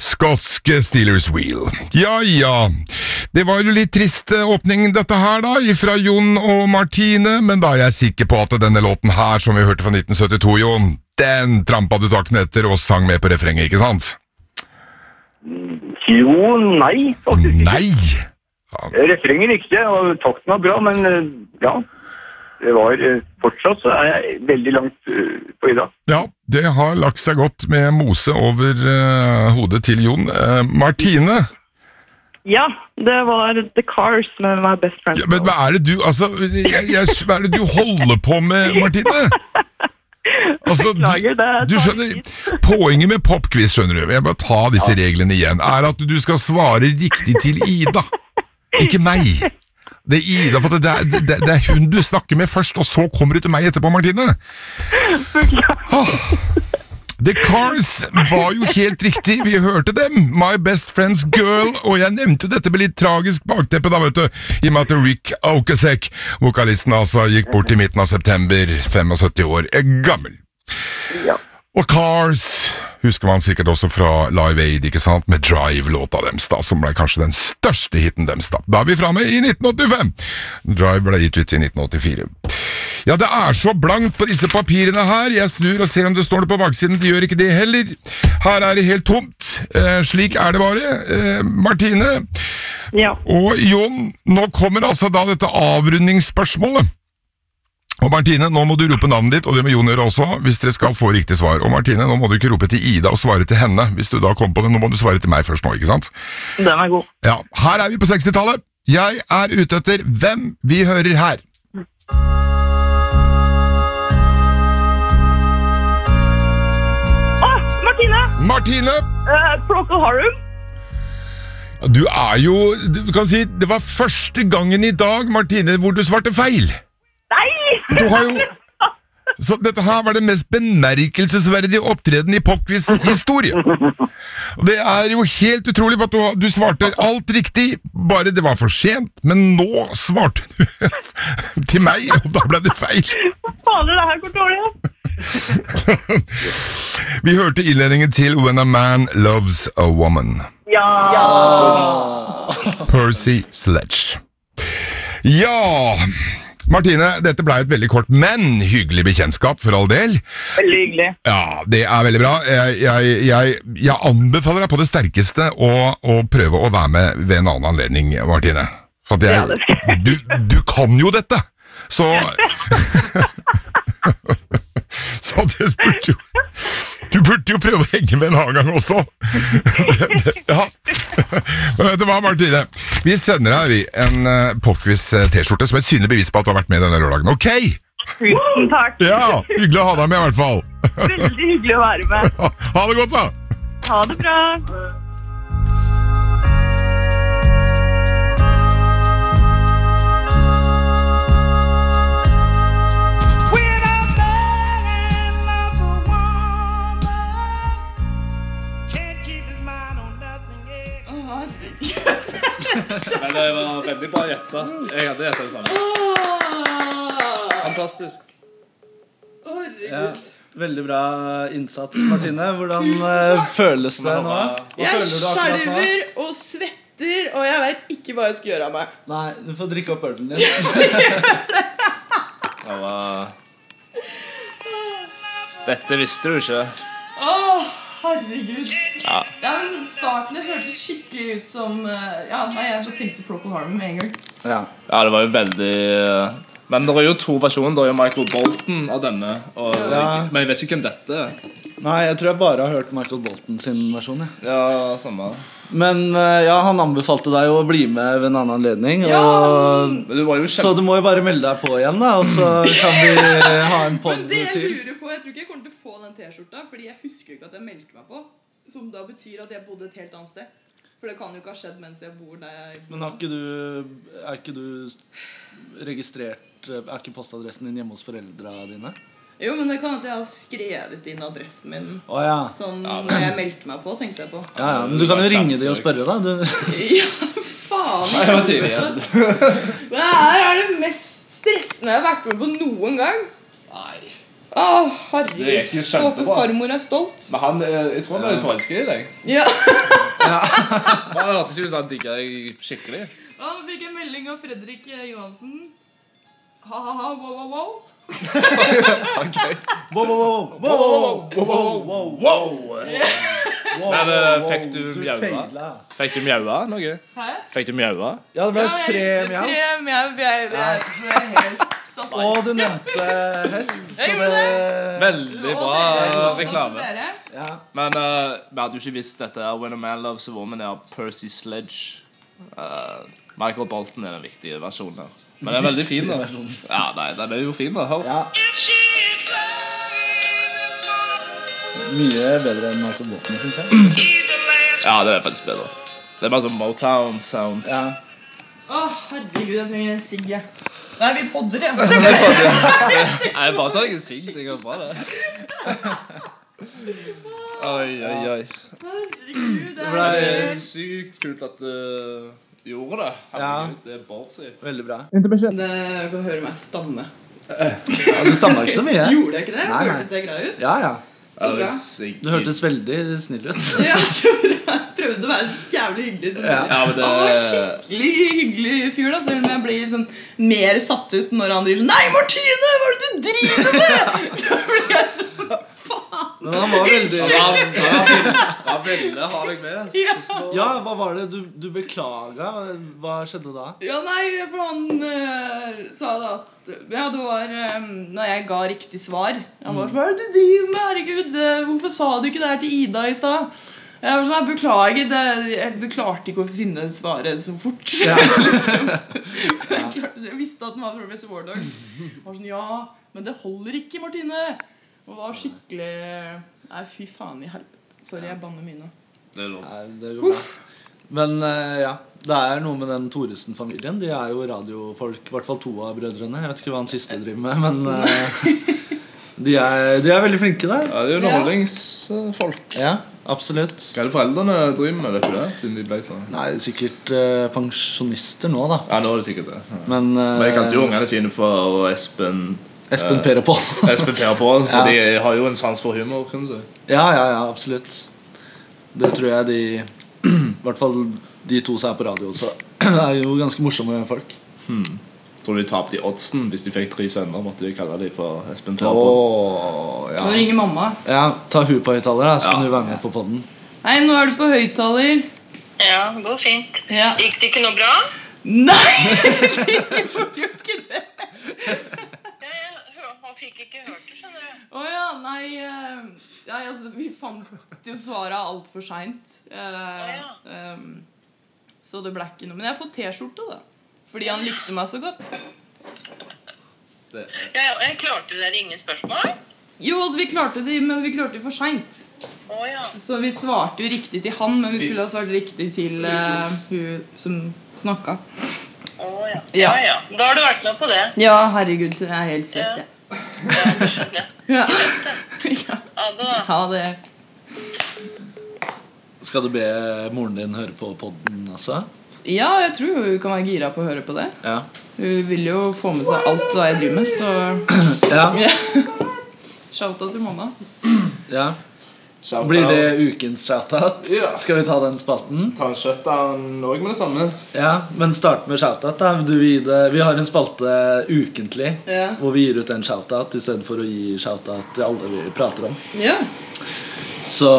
Skotsk Steelers Wheel. Ja ja, det var jo litt trist eh, åpning dette her da, fra Jon og Martine, men da er jeg sikker på at denne låten her, som vi hørte fra 1972, Jon, den trampa du takten etter og sang med på refrenget, ikke sant?
Jo, nei, faktisk
ikke. Nei!
Refrenget likte jeg, og takten var bra, men eh, ja. Det var eh, fortsatt så er jeg veldig langt eh, på Ida.
Ja, det har lagt seg godt med mose over eh, hodet til Jon. Eh, Martine,
Ja, det var The Cars med My Best Friend.
men hva er det du altså, jeg, jeg, Hva er det du holder på med, Martine? Altså, du, du skjønner, Poenget med popquiz, skjønner du, jeg bare ta disse reglene igjen, er at du skal svare riktig til Ida, ikke meg. Det er Ida, for det er, det, det er hun du snakker med først, og så kommer du til meg etterpå, Martine. Åh. The Cars var jo helt riktig, vi hørte dem, My Best Friend's Girl, og jeg nevnte jo dette med litt tragisk bakteppe da, vet du, i og med at Rick Okasek, vokalisten altså, gikk bort i midten av september, 75 år eh, gammel. Og Cars husker man sikkert også fra Live Aid, ikke sant, med Drive-låta deres da, som ble kanskje den største hiten deres da. Da er vi framme i 1985! Drive ble gitt ut i 1984. Ja, det er så blankt på disse papirene her. Jeg snur og ser om det står det på baksiden. De gjør ikke det heller. Her er det helt tomt. Eh, slik er det bare. Eh, Martine og Jon, nå kommer altså da dette avrundingsspørsmålet. Og Martine, nå må du rope navnet ditt, og det må Jon gjøre også, hvis dere skal få riktig svar. Og Martine, nå må du ikke rope til Ida og svare til henne, hvis du da kom på det. Nå må du svare til meg først nå, ikke sant?
Den er god.
Ja, her er vi på 60-tallet. Jeg er ute etter hvem vi hører her.
Å, Martine!
Martine!
Uh, Procol Harum.
Du er jo du kan si, Det var første gangen i dag, Martine, hvor du svarte feil.
Nei!
Du har jo Så dette her var det mest bemerkelsesverdige opptreden i popquiz historie. Og det er jo helt utrolig, for at du, har- du svarte alt riktig, bare det var for sent. Men nå svarte du til meg, og da ble det feil.
Fader, det her går dårlig.
Vi hørte innledningen til When a Man Loves a Woman.
Ja!
Percy Sledge. Ja Martine, dette ble et veldig kort, men hyggelig bekjentskap, for all del.
Veldig hyggelig.
Ja, det er veldig bra. Jeg, jeg, jeg, jeg anbefaler deg på det sterkeste å, å prøve å være med ved en annen anledning, Martine. Så at jeg, du, du kan jo dette! Så Så det spurte jo Du burde jo prøve å henge med en annen gang også! ja. Men vet du hva, Martine? Vi sender deg vi, en eh, popquiz-T-skjorte som et synlig bevis på at du har vært med denne lørdagen. Ok?
Tusen takk.
Ja, Hyggelig å ha deg med, i hvert fall.
Veldig hyggelig å være med.
Ha det godt, da!
Ha det bra.
Men det var veldig bra gjetta. Jeg hadde gjetta det samme. Fantastisk.
Ja. Veldig bra innsats, Martine. Hvordan eh, føles det nå? Hva
Jeg
føler du akkurat nå?
skjelver og svetter, og jeg veit ikke hva jeg skal gjøre av meg.
Nei, du får drikke opp ølen din.
Det var Dette visste du ikke.
Å, herregud.
Ja.
Ja, men Starten det hørtes skikkelig ut som eh, Ja, nei, jeg bare tenkte Procol Harmon med en gang.
Ja. det var jo veldig eh, Men det er jo to versjoner. Det er jo Michael Bolton av denne. Og,
Ja.
Men jeg vet ikke hvem dette er.
Nei, jeg tror jeg bare har hørt Michael Bolton sin versjon. Jeg.
Ja, samme.
Men eh, ja, han anbefalte deg å bli med ved en annen anledning.
Ja,
og...
kjempe-
Så du må jo bare melde deg på igjen, da. Og så kan vi ha en pod
Det jeg
til.
lurer på, jeg tror ikke jeg kommer til å få den T-skjorta, fordi jeg husker jo ikke at jeg meldte meg på. Som da betyr at jeg bodde et helt annet sted. For det kan jo ikke ha skjedd mens jeg bor der jeg
Men har ikke du, er ikke du registrert Er ikke postadressen din hjemme hos foreldra dine?
Jo, men det kan at jeg har skrevet inn adressen min.
Å ja.
Sånn når jeg meldte meg på, tenkte jeg på.
Ja, ja, Men du kan jo ringe de og spørre, da. Du.
Faen!
Nei, det var tidlig igjen.
Det her er det mest stressende jeg har vært med på noen gang.
Nei.
Å, herregud.
Det gikk jo kjempebra.
Håper farmor er stolt.
Men han, eh, jeg tror han ble litt forelsket i deg.
Ja.
Han hørtes ut som han digga deg skikkelig.
Ja, nå fikk jeg melding av Fredrik eh, Johansen. Ha-ha-ha, wow, wow, wow.
Wow, wow, wow, wow, wow, wow, wow, wow, wow.
Men eh, fikk du
Du
mjaua?
feila.
Fikk du mjaua noe?
Hæ?
Fikk du mjaua?
Ja, det ble
Ja, jeg-
tre mjau.
Tre mjau. Jeg, jeg, jeg, jeg er helt satt
Og du nevnte hest, så det
Jeg gjorde
Veldig bra reklame.
Ja.
Men eh, vi hadde jo ikke visst dette. her. When a man loves a woman er av Percy Sledge. Eh, Michael Bolton er den viktige versjonen her. Men den er veldig fin. da
Viktige versjonen.
Ja, nei, Den er jo fin, da. Hør.
Mye bedre enn Michael Bolton, syns jeg.
Ja, den er faktisk bedre. Det er bare sånn Motown-sound.
Å, herregud, jeg trenger en sigg, jeg. Nei, vi podder, ja.
Nei, bare ta deg en sigg. Det går bra, det. Oi, oi, oi.
Herregud,
Det
det
ble
er
sykt kult at du gjorde det. Herregud, det er Barcy.
Veldig bra.
Det jeg kan høre meg stamme.
Ja, du stamma ikke så mye.
Gjorde jeg ikke det?
Nei, nei.
Hørtes det greit ut?
Ja, ja.
Så bra.
Du hørtes veldig snill ut.
Ja, så bra. Prøvde å være jævlig hyggelig. som
Ja.
mulig.
Ja, men det-
Han var skikkelig hyggelig fyr, da, selv om jeg blir sånn mer satt ut når han driver sånn Nei, Martine! Hva er det du driver med?! da blir jeg sånn
Men han var veldig
Han- han- Han ville ha deg med. ass.
Ja, hva var det? Du, du beklaga? Hva skjedde da?
Ja, nei, for han eh, sa da at Ja, det var eh, når jeg ga riktig svar. Han var sånn Hva er det du driver med? Herregud, eh, hvorfor sa du ikke det her til Ida i stad? Jeg var sånn, «Jeg Beklager, det, jeg beklarte ikke å finne svaret så fort. liksom. jeg, klarte, jeg visste at den var fra Professor Wardogs. Han var sånn Ja, men det holder ikke, Martine. Og var skikkelig Nei, fy faen i helvete. Sorry, jeg banner mye nå.
Det er lov.
Nei, det går bra. Men eh, ja, det er noe med den Thoresen-familien. De er jo radiofolk, i hvert fall to av brødrene. Jeg vet ikke hva han siste driver med, men eh, de, er, de er veldig flinke der.
Ja, det er jo underholdningsfolk.
Ja, absolutt.
Hva er det foreldrene driver med, vet du det? Siden de ble sånn.
Nei, sikkert eh, pensjonister nå, da.
Ja, nå er det sikkert det. Ja.
Men, eh,
Men jeg kalte jo ungene sine for Espen
Espen
eh,
Per og Pål.
Espen Per og Pål, så
Ja.
de har jo en sans for humor. Kan du si.
Ja, ja, ja, absolutt. Det tror jeg de I hvert fall de to som er på radio også. er jo ganske morsomme folk.
Hmm. Tror du de tapte i oddsen hvis de fikk tre sønner? Måtte de kalle dem for Espen Per og
Åh,
Nå ringer mamma.
Ja, Ta hun på høyttaler, da, så kan du være med på podden
Hei, nå er du på høyttaler.
Ja, det går fint.
Ja.
Gikk det ikke noe bra?
Nei! Vi gjorde jo ikke det.
Man fikk ikke hørt det, skjønner du.
Å ja, nei eh, nei, altså, Vi fant jo svaret altfor seint. Eh, ehm, så det ble ikke noe. Men jeg har fått T-skjorte, da. Fordi han likte meg så godt.
Ja, ja, jeg klarte dere ingen spørsmål?
Jo, altså, vi klarte det, men vi klarte det for seint.
Å ja.
Så vi svarte jo riktig til han, men vi skulle ha svart riktig til eh, hun som snakka.
Å ja.
Ja.
ja ja. Da har du vært med på det.
Ja, herregud, jeg er helt svett, jeg. Ja.
Ja, da.
Ta det.
Skal du be moren din høre på podden også?
Ja, jeg tror hun kan være gira på å høre på det.
Ja.
Hun vil jo få med seg alt hva jeg driver med, så
ja.
Shout-out til mamma.
ja. Blir det ukens shoutout? Skal vi ta den spalten?
Ta en shutdown òg med det samme.
Ja, men start med shoutout. da Du vil gi det- Vi har en spalte ukentlig
Ja.
hvor vi gir ut en shoutout istedenfor å gi shoutout til alle vi prater om.
Ja.
Så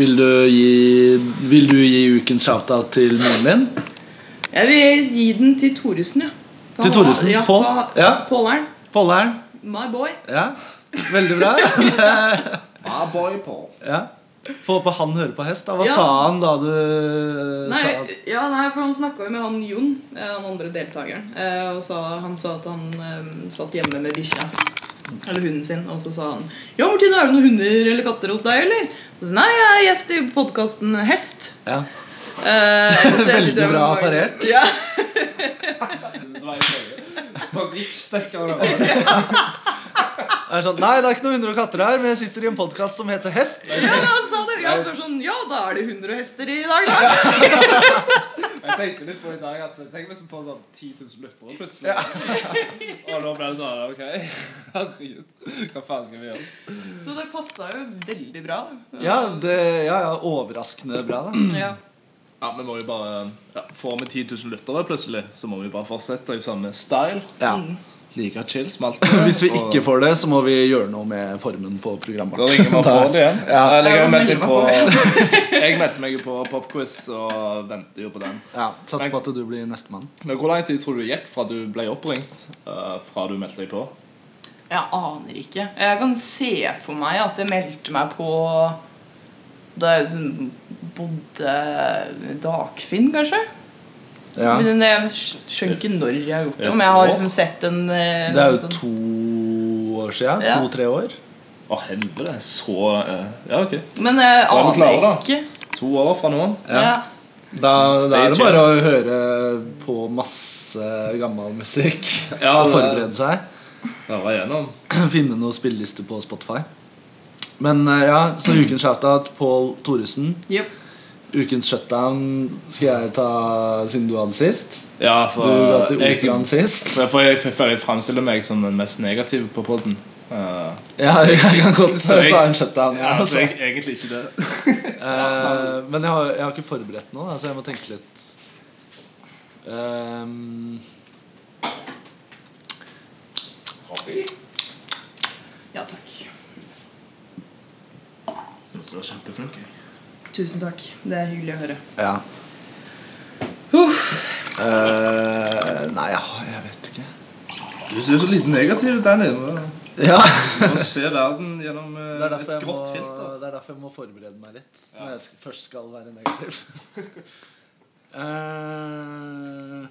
vil du gi, vil du gi ukens shoutout til moren din?
Jeg vil gi den til Thoresen, ja. For
Til
han-
Thoresen?
Ja,
Pål?
for-
Ja.
Påleren.
Pollern?
My boy.
Ja. Veldig bra.
Ah, boy, Paul.
ja. Få på han hører på hest. da Hva
Ja.
sa han da du sa
Nei, ja, nei, for han snakka jo med han Jon, eh, han andre deltakeren, eh, og sa, han sa at han eh, satt hjemme med bikkja. Eller hunden sin. Og så sa han Ja, Martine, er det noen hunder eller katter hos deg, eller? Så, sa jeg, nei, jeg er gjest i podkasten Hest.
Ja.
Eh, så jeg sitter
Veldig
her med
bra
mange-
parert.
Ja.
Er sånn, Nei, det er ikke noen hunder og katter her, men jeg sitter i en podkast som heter Hest.
Ja, men han sa det. Ja, det var sånn, ja, da er det hunder og hester i dag, da.
Jeg tenkte litt på i dag at Tenk hvis vi får sånn 10 000 lyttere plutselig. Og nå ble det sånn OK. Herregud. Hva faen skal vi gjøre?
Så det passa jo veldig bra. da.
Ja, det, ja, ja, overraskende bra, da.
Ja.
Ja, vi må jo bare ja, Får vi 10 000 lyttere plutselig, så må vi bare fortsette i samme style.
Ja.
Like chill som alt.
Hvis vi ikke får det, så må vi gjøre noe med formen på programmet
Da ringer vi Pål igjen.
Ja.
Eller jeg, har meldt meg
Ja, da melder
på,
vi
jeg meldte meg jo på popquiz og venter jo på den.
Ja, Satser på at du blir nestemann.
Men Hvor lang tid tror du det gikk fra du ble oppringt, eh, fra du meldte deg på?
Jeg aner ikke. Jeg kan se for meg at jeg meldte meg på da jeg sånn bodde i Dagfinn, kanskje.
Ja.
Men jeg skjønner ikke når jeg har gjort det.
Ja.
Om jeg har liksom sett en eh,
Det er jo
sånn-
to år siden.
Ja.
To-tre år.
Å, helvete. Så eh, Ja, OK.
Men jeg
Da er vi klare,
aner
da.
ikke.
To år fra nå.
Ja.
Da, da er det
Stay
bare å
tuned.
høre på masse gammel musikk
Ja,
og
det-
forberede seg.
Høre igjennom.
Finne noen spillelister på Spotify. Men eh, ja, så ukens shoutout Pål Thoresen.
Yep.
Ukens shutdown skal jeg ta siden du hadde sist.
Ja, for eh,
du ga til
jeg-
operaen sist.
For jeg- For jeg føler jeg fremstiller meg som den mest negative på podden. Eh,
Ja, jeg kan godt
så jeg-
ta en shutdown.
Ja,
ja, altså.
så jeg er egentlig ikke det.
Eh, men jeg har, jeg har ikke forberedt noe, da, så jeg må tenke litt. Ehm,
Ja, takk.
Syns du var kjempeflink.
Tusen takk. Det er hyggelig å høre.
ja. Eh, nei, jeg, har- jeg vet ikke.
Du ser så lite negativ der nede.
Ja.
Du må se verden gjennom eh,
Det er
et
derfor jeg må,
grått filter.
det er derfor jeg må forberede meg litt når jeg sk- først skal være negativ. Eh,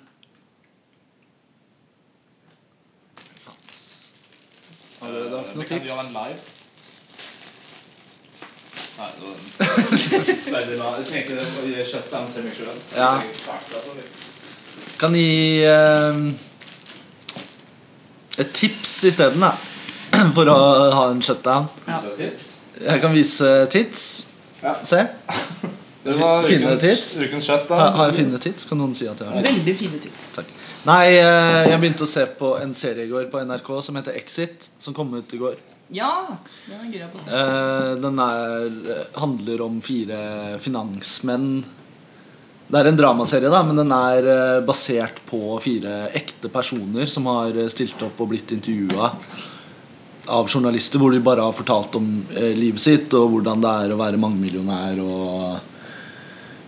Har du
det er ikke noe
vi kan
tips.
gjøre en live. Nei, det var veldig bra. Jeg tenker å gi shutdown til meg sjøl.
Ja. kan gi eh, et tips isteden, da. For å ha en shutdown. Jeg kan vise tits. Se.
Det var
Finne
ukens-
tits.
ukens shutdown.
Har har jeg finne tits? Kan noen si at jeg har finne
Veldig fine tips.
Takk. Nei, eh, jeg begynte å se på en serie i går på NRK som heter Exit, som kom ut i går.
Ja, den er gira på. å se.
Eh, Den er, eh, handler om fire finansmenn. Det er en dramaserie, da, men den er eh, basert på fire ekte personer som har eh, stilt opp og blitt intervjua av journalister, hvor de bare har fortalt om eh, livet sitt og hvordan det er å være mangemillionær og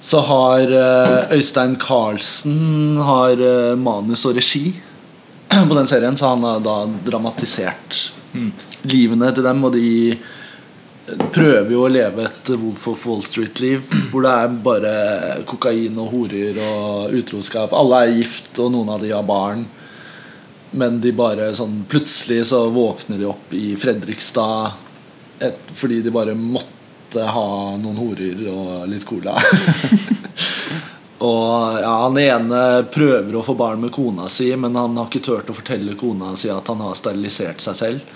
Så har eh, Øystein Carlsen har eh, manus og regi på den serien, så han har da dramatisert livene til dem, og de prøver jo å leve et Wolf of Wall Street-liv hvor det er bare kokain og horer og utroskap. Alle er gift, og noen av de har barn. Men de bare sånn plutselig så våkner de opp i Fredrikstad et, fordi de bare måtte ha noen horer og litt cola. og ja, Han ene prøver å få barn med kona si, men han har ikke turt å fortelle kona si at han har sterilisert seg selv.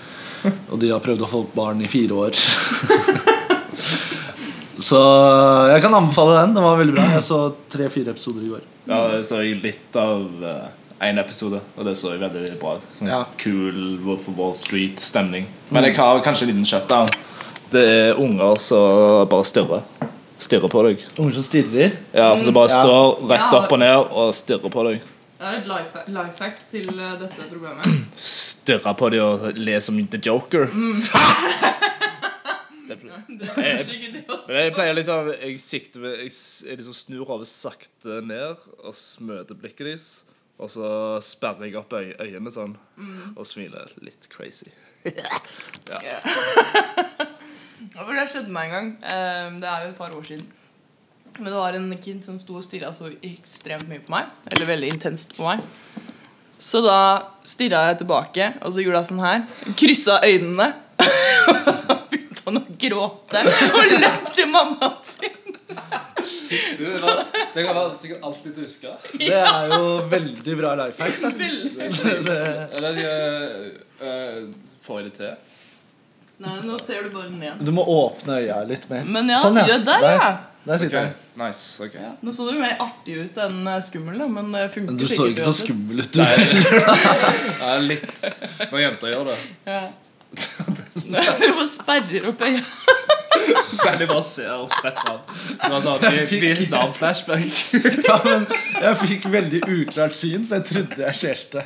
Og de har prøvd å få barn i fire år. så jeg kan anbefale den. Den var veldig bra. Jeg så tre-fire episoder i går.
Ja, det så jeg litt av én episode, og det så jeg veldig bra ut. Sånn
Ja.
Kul Wolf of Wall Street-stemning. Men jeg har kanskje en liten shutdown. Det er unger som bare stirrer. Stirrer på deg.
Unger som stirrer?
Ja, for som bare
Ja.
står rett
Ja.
opp og ned og stirrer på deg.
Det er et life, hack til eh, dette problemet.
Stirrer på deg og ler som The Joker.
Mm.
det er sikkert det også. Men jeg pleier liksom Jeg sikter ved- Jeg, s- jeg liksom snur over sakte ned og s- møter blikket deres. Og så sperrer jeg opp øy øynene sånn
Mm.
og smiler litt crazy.
Ja. For det skjedde meg en gang. Eh, Det er jo et par år siden. Men det var en kid som sto og stirra så ekstremt mye på meg. Eller veldig intenst på meg. Så da stirra jeg tilbake, og så gjorde jeg sånn her. Kryssa øynene. Begynte han å gråte og løp til mammaen sin.
Det kan være sikkert alltid huske.
Det er jo veldig bra life hack.
Eller uh, Får jeg det til?
Nei, nå ser du bare ned.
Du må åpne øya litt mer. Sånn,
Men ja, gjør der, ja.
Der sitter
Ok, Nice, ok
Nå så du mer artig ut enn eh, skummel, da, men det funker
Men du så ikke
sikkert
så
uansett.
skummel ut,
Nei,
du.
ja, litt. Når jenter gjør det.
Ja. Du bare sperrer opp øya.
Kan de bare se opp rett fram. Det var sånn vi- Vietnam-flashback.
Ja, men jeg fikk veldig uklart syn, så jeg trodde jeg skjelte.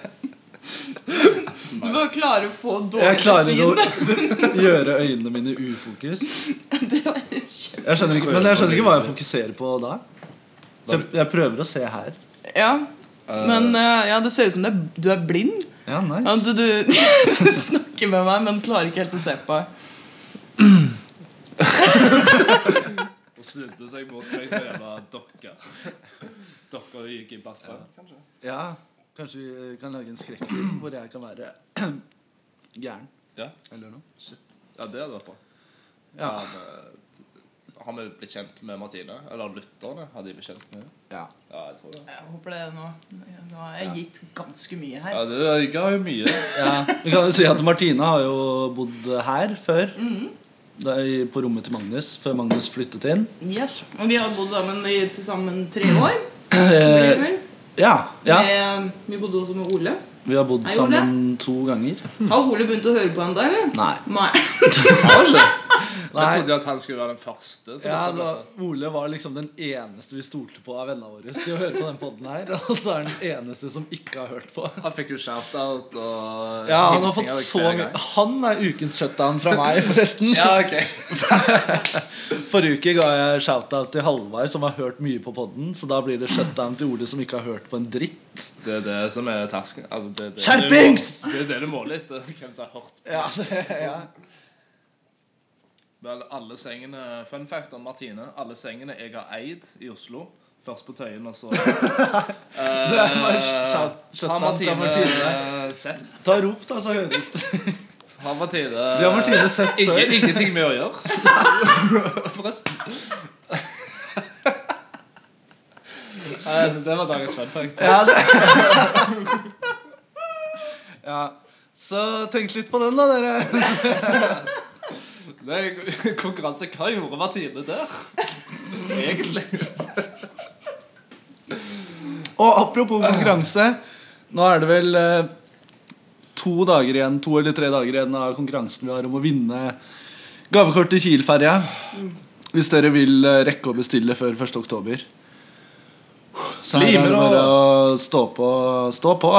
Du bare klarer å få
Jeg
dårlig
klarer å
syn.
gjøre øynene mine ufokus. Jeg skjønner ikke, men jeg skjønner ikke hva jeg fokuserer på da. Jeg, jeg prøver å se her.
Ja, men eh, ja, det ser ut som det, er- du er blind.
Ja,
At
nice.
du, du snakker med meg, men klarer ikke helt å se på meg.
Og snudde seg mot meg som en jævla dokke. Dokka gikk i bassball, kanskje?
Ja, kanskje vi kan lage en skrekkfilm hvor jeg kan være gæren.
Ja.
Eller noe.
Ja, det hadde vært bra.
Ja.
Men, Har vi blitt kjent med Martine? Eller lytterne? Har de blitt kjent med henne?
Ja.
ja, jeg tror det.
Jeg håper det nå. Nå har jeg gitt ganske mye her.
Ja, det ga jo mye.
Ja. Vi kan jo si at Martine har jo bodd her før. Da, i- på rommet til Magnus, før Magnus flyttet inn.
Yes. Og vi har bodd sammen i til sammen tre år. blir det
Mm. Eh,
vel?
ja, ja.
Med, vi bodde også med Ole.
Vi har bodd
Hei, Ole.
sammen to ganger.
Har Ole begynt å høre på ennå, eller?
Nei.
Nei.
Jeg trodde at han skulle være den første. til å
Ja,
komme
da, Ole var liksom den eneste vi stolte på av vennene våre til å høre på den podden her. Og så er han den eneste som ikke har hørt på.
etter. Han fikk jo shout-out og
Ja, Han har
hilsinger
fått så
hver
mye
gang.
Han er ukens shutdown fra meg, forresten.
Ja, ok
Forrige uke ga jeg shout-out til Halvard, som har hørt mye på podden. Så da blir det shutdown til Ole, som ikke har hørt på en dritt.
Det er det som er tasken. Altså, det, er det,
Skjerpings!
Det er det du måler etter. Hvem som har hørt på.
Ja, det- ja.
Vel, alle sengene, Fun fact om Martine. Alle sengene jeg har eid i Oslo. Først på Tøyen, og så
Det er bare shout-
Eh, Har
shutdown fra
Martine
Martine.
eh, sett?
Ta rop, da, så høres det.
Har Martine,
Det har Martine sett
Ingen-
før.
Ingenting med å gjøre. Forresten. Nei,
altså,
så det var dagens fun fact.
Ja, det. ja. Så tenk litt på den, da, dere.
Det er konkurranse. Hva gjorde Martine der? Egentlig.
Og apropos konkurranse. Nå er det vel eh, to dager igjen To eller tre dager igjen av konkurransen vi har om å vinne gavekort til Kiel-ferja. Hvis dere vil eh, rekke å bestille før 1. oktober. Så her
Bli
er
med
det
da!
bare å stå på. Stå på.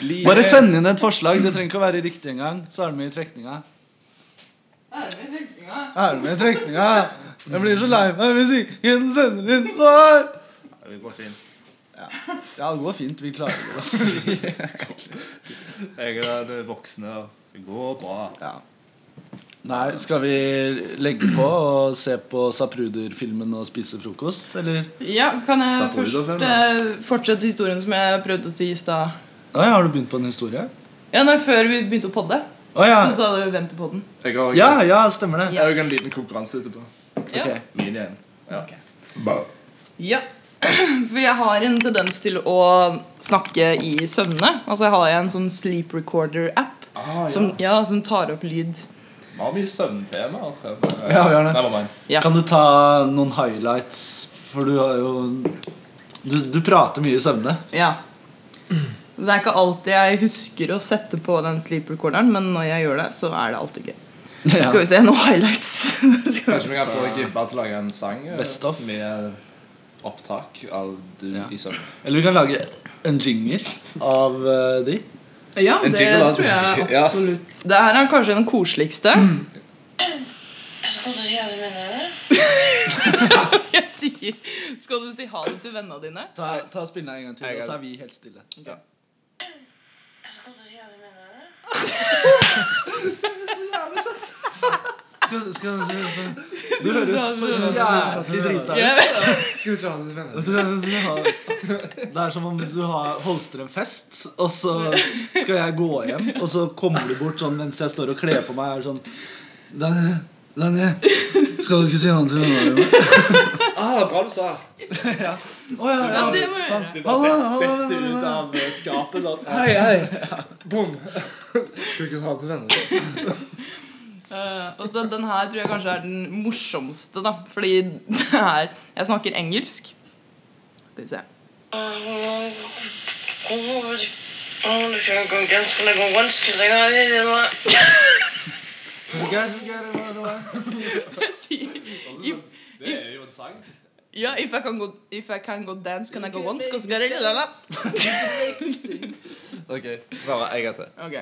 Bli
Bare
med.
send inn et forslag. Det trenger ikke å være riktig engang. Så er det med i trekninga.
Er det med trekninga?
Er det med i trekninga? Jeg blir så lei meg hvis ingen sender inn svar!
Det går fint.
Ja. ja, det går fint. Vi klarer det. ass.
Jeg er den voksne, og det går bra.
Nei, skal vi legge på og se på Sapruder-filmen og spise frokost, eller?
Ja, Kan jeg
Sapoida
først
film,
eh, fortsette historien som jeg prøvde å si i stad?
Nei, har du begynt på en historie?
Ja, nei, Før vi begynte å podde,
Å, ja.
så sa du 'vent til podden'.
Jeg har,
Ja, ja, stemmer det.
Jeg har jo en liten konkurranse etterpå.
Ja.
Min igjen. Ja.
Ja. For jeg har en tendens til å snakke i søvne. Altså jeg har en sånn sleep recorder-app
Ah, ja.
som, ja, som tar opp lyd.
Vi har mye søvntemaer.
Ja, vi har det.
Never mind.
Kan du ta noen highlights? For du har jo Du, du prater mye i søvne.
Ja. Det er ikke alltid jeg husker å sette på den sleep recorderen, men når jeg gjør det, så er det alltid gøy.
Ja.
Skal vi se noen highlights?
Kanskje vi kan få Gibba til å lage en sang eh,
Best of.
med opptak av du i søvn.
Eller vi kan lage en jingle av eh, de.
Ja,
En
det
jingle, altså.
tror jeg
Ja.
absolutt. Det her er kanskje den koseligste.
Mm.
Skal du si hva du mener med det?
Jeg sier Skal du si ha det til vennene dine?
Ta, ta Spill den en gang til, og så er vi helt stille.
Skal du si hva du mener med det?
Skal, skal, skal, skal. Du høres så jævlig drita
Skal vi ta det til venner?
ut. Du- du- du har- Det er som om du har, holster en fest, og så skal jeg gå hjem, og så kommer du bort sånn mens jeg står og kler på meg, er sånn Daniel, Daniel, skal du ikke si noe til noen?
Ah, bra du sa.
Å ja, ja.
Du bare- Du
Hallo,
bare
hallo,
detter
hallo,
ut av eh, skapet sånn.
Hei, hei.
Bom. Skal ikke ha det til venner.
Eh, og så Den her tror jeg kanskje er den morsomste, da. Fordi det er Jeg snakker engelsk. Skal vi se. Jeg sier if,
Altså, Det er jo en sang.
yeah, if, I can go, if I can go dance, can I go once? Cause I got it, la, la.
OK. Bare en gang til.
Ok.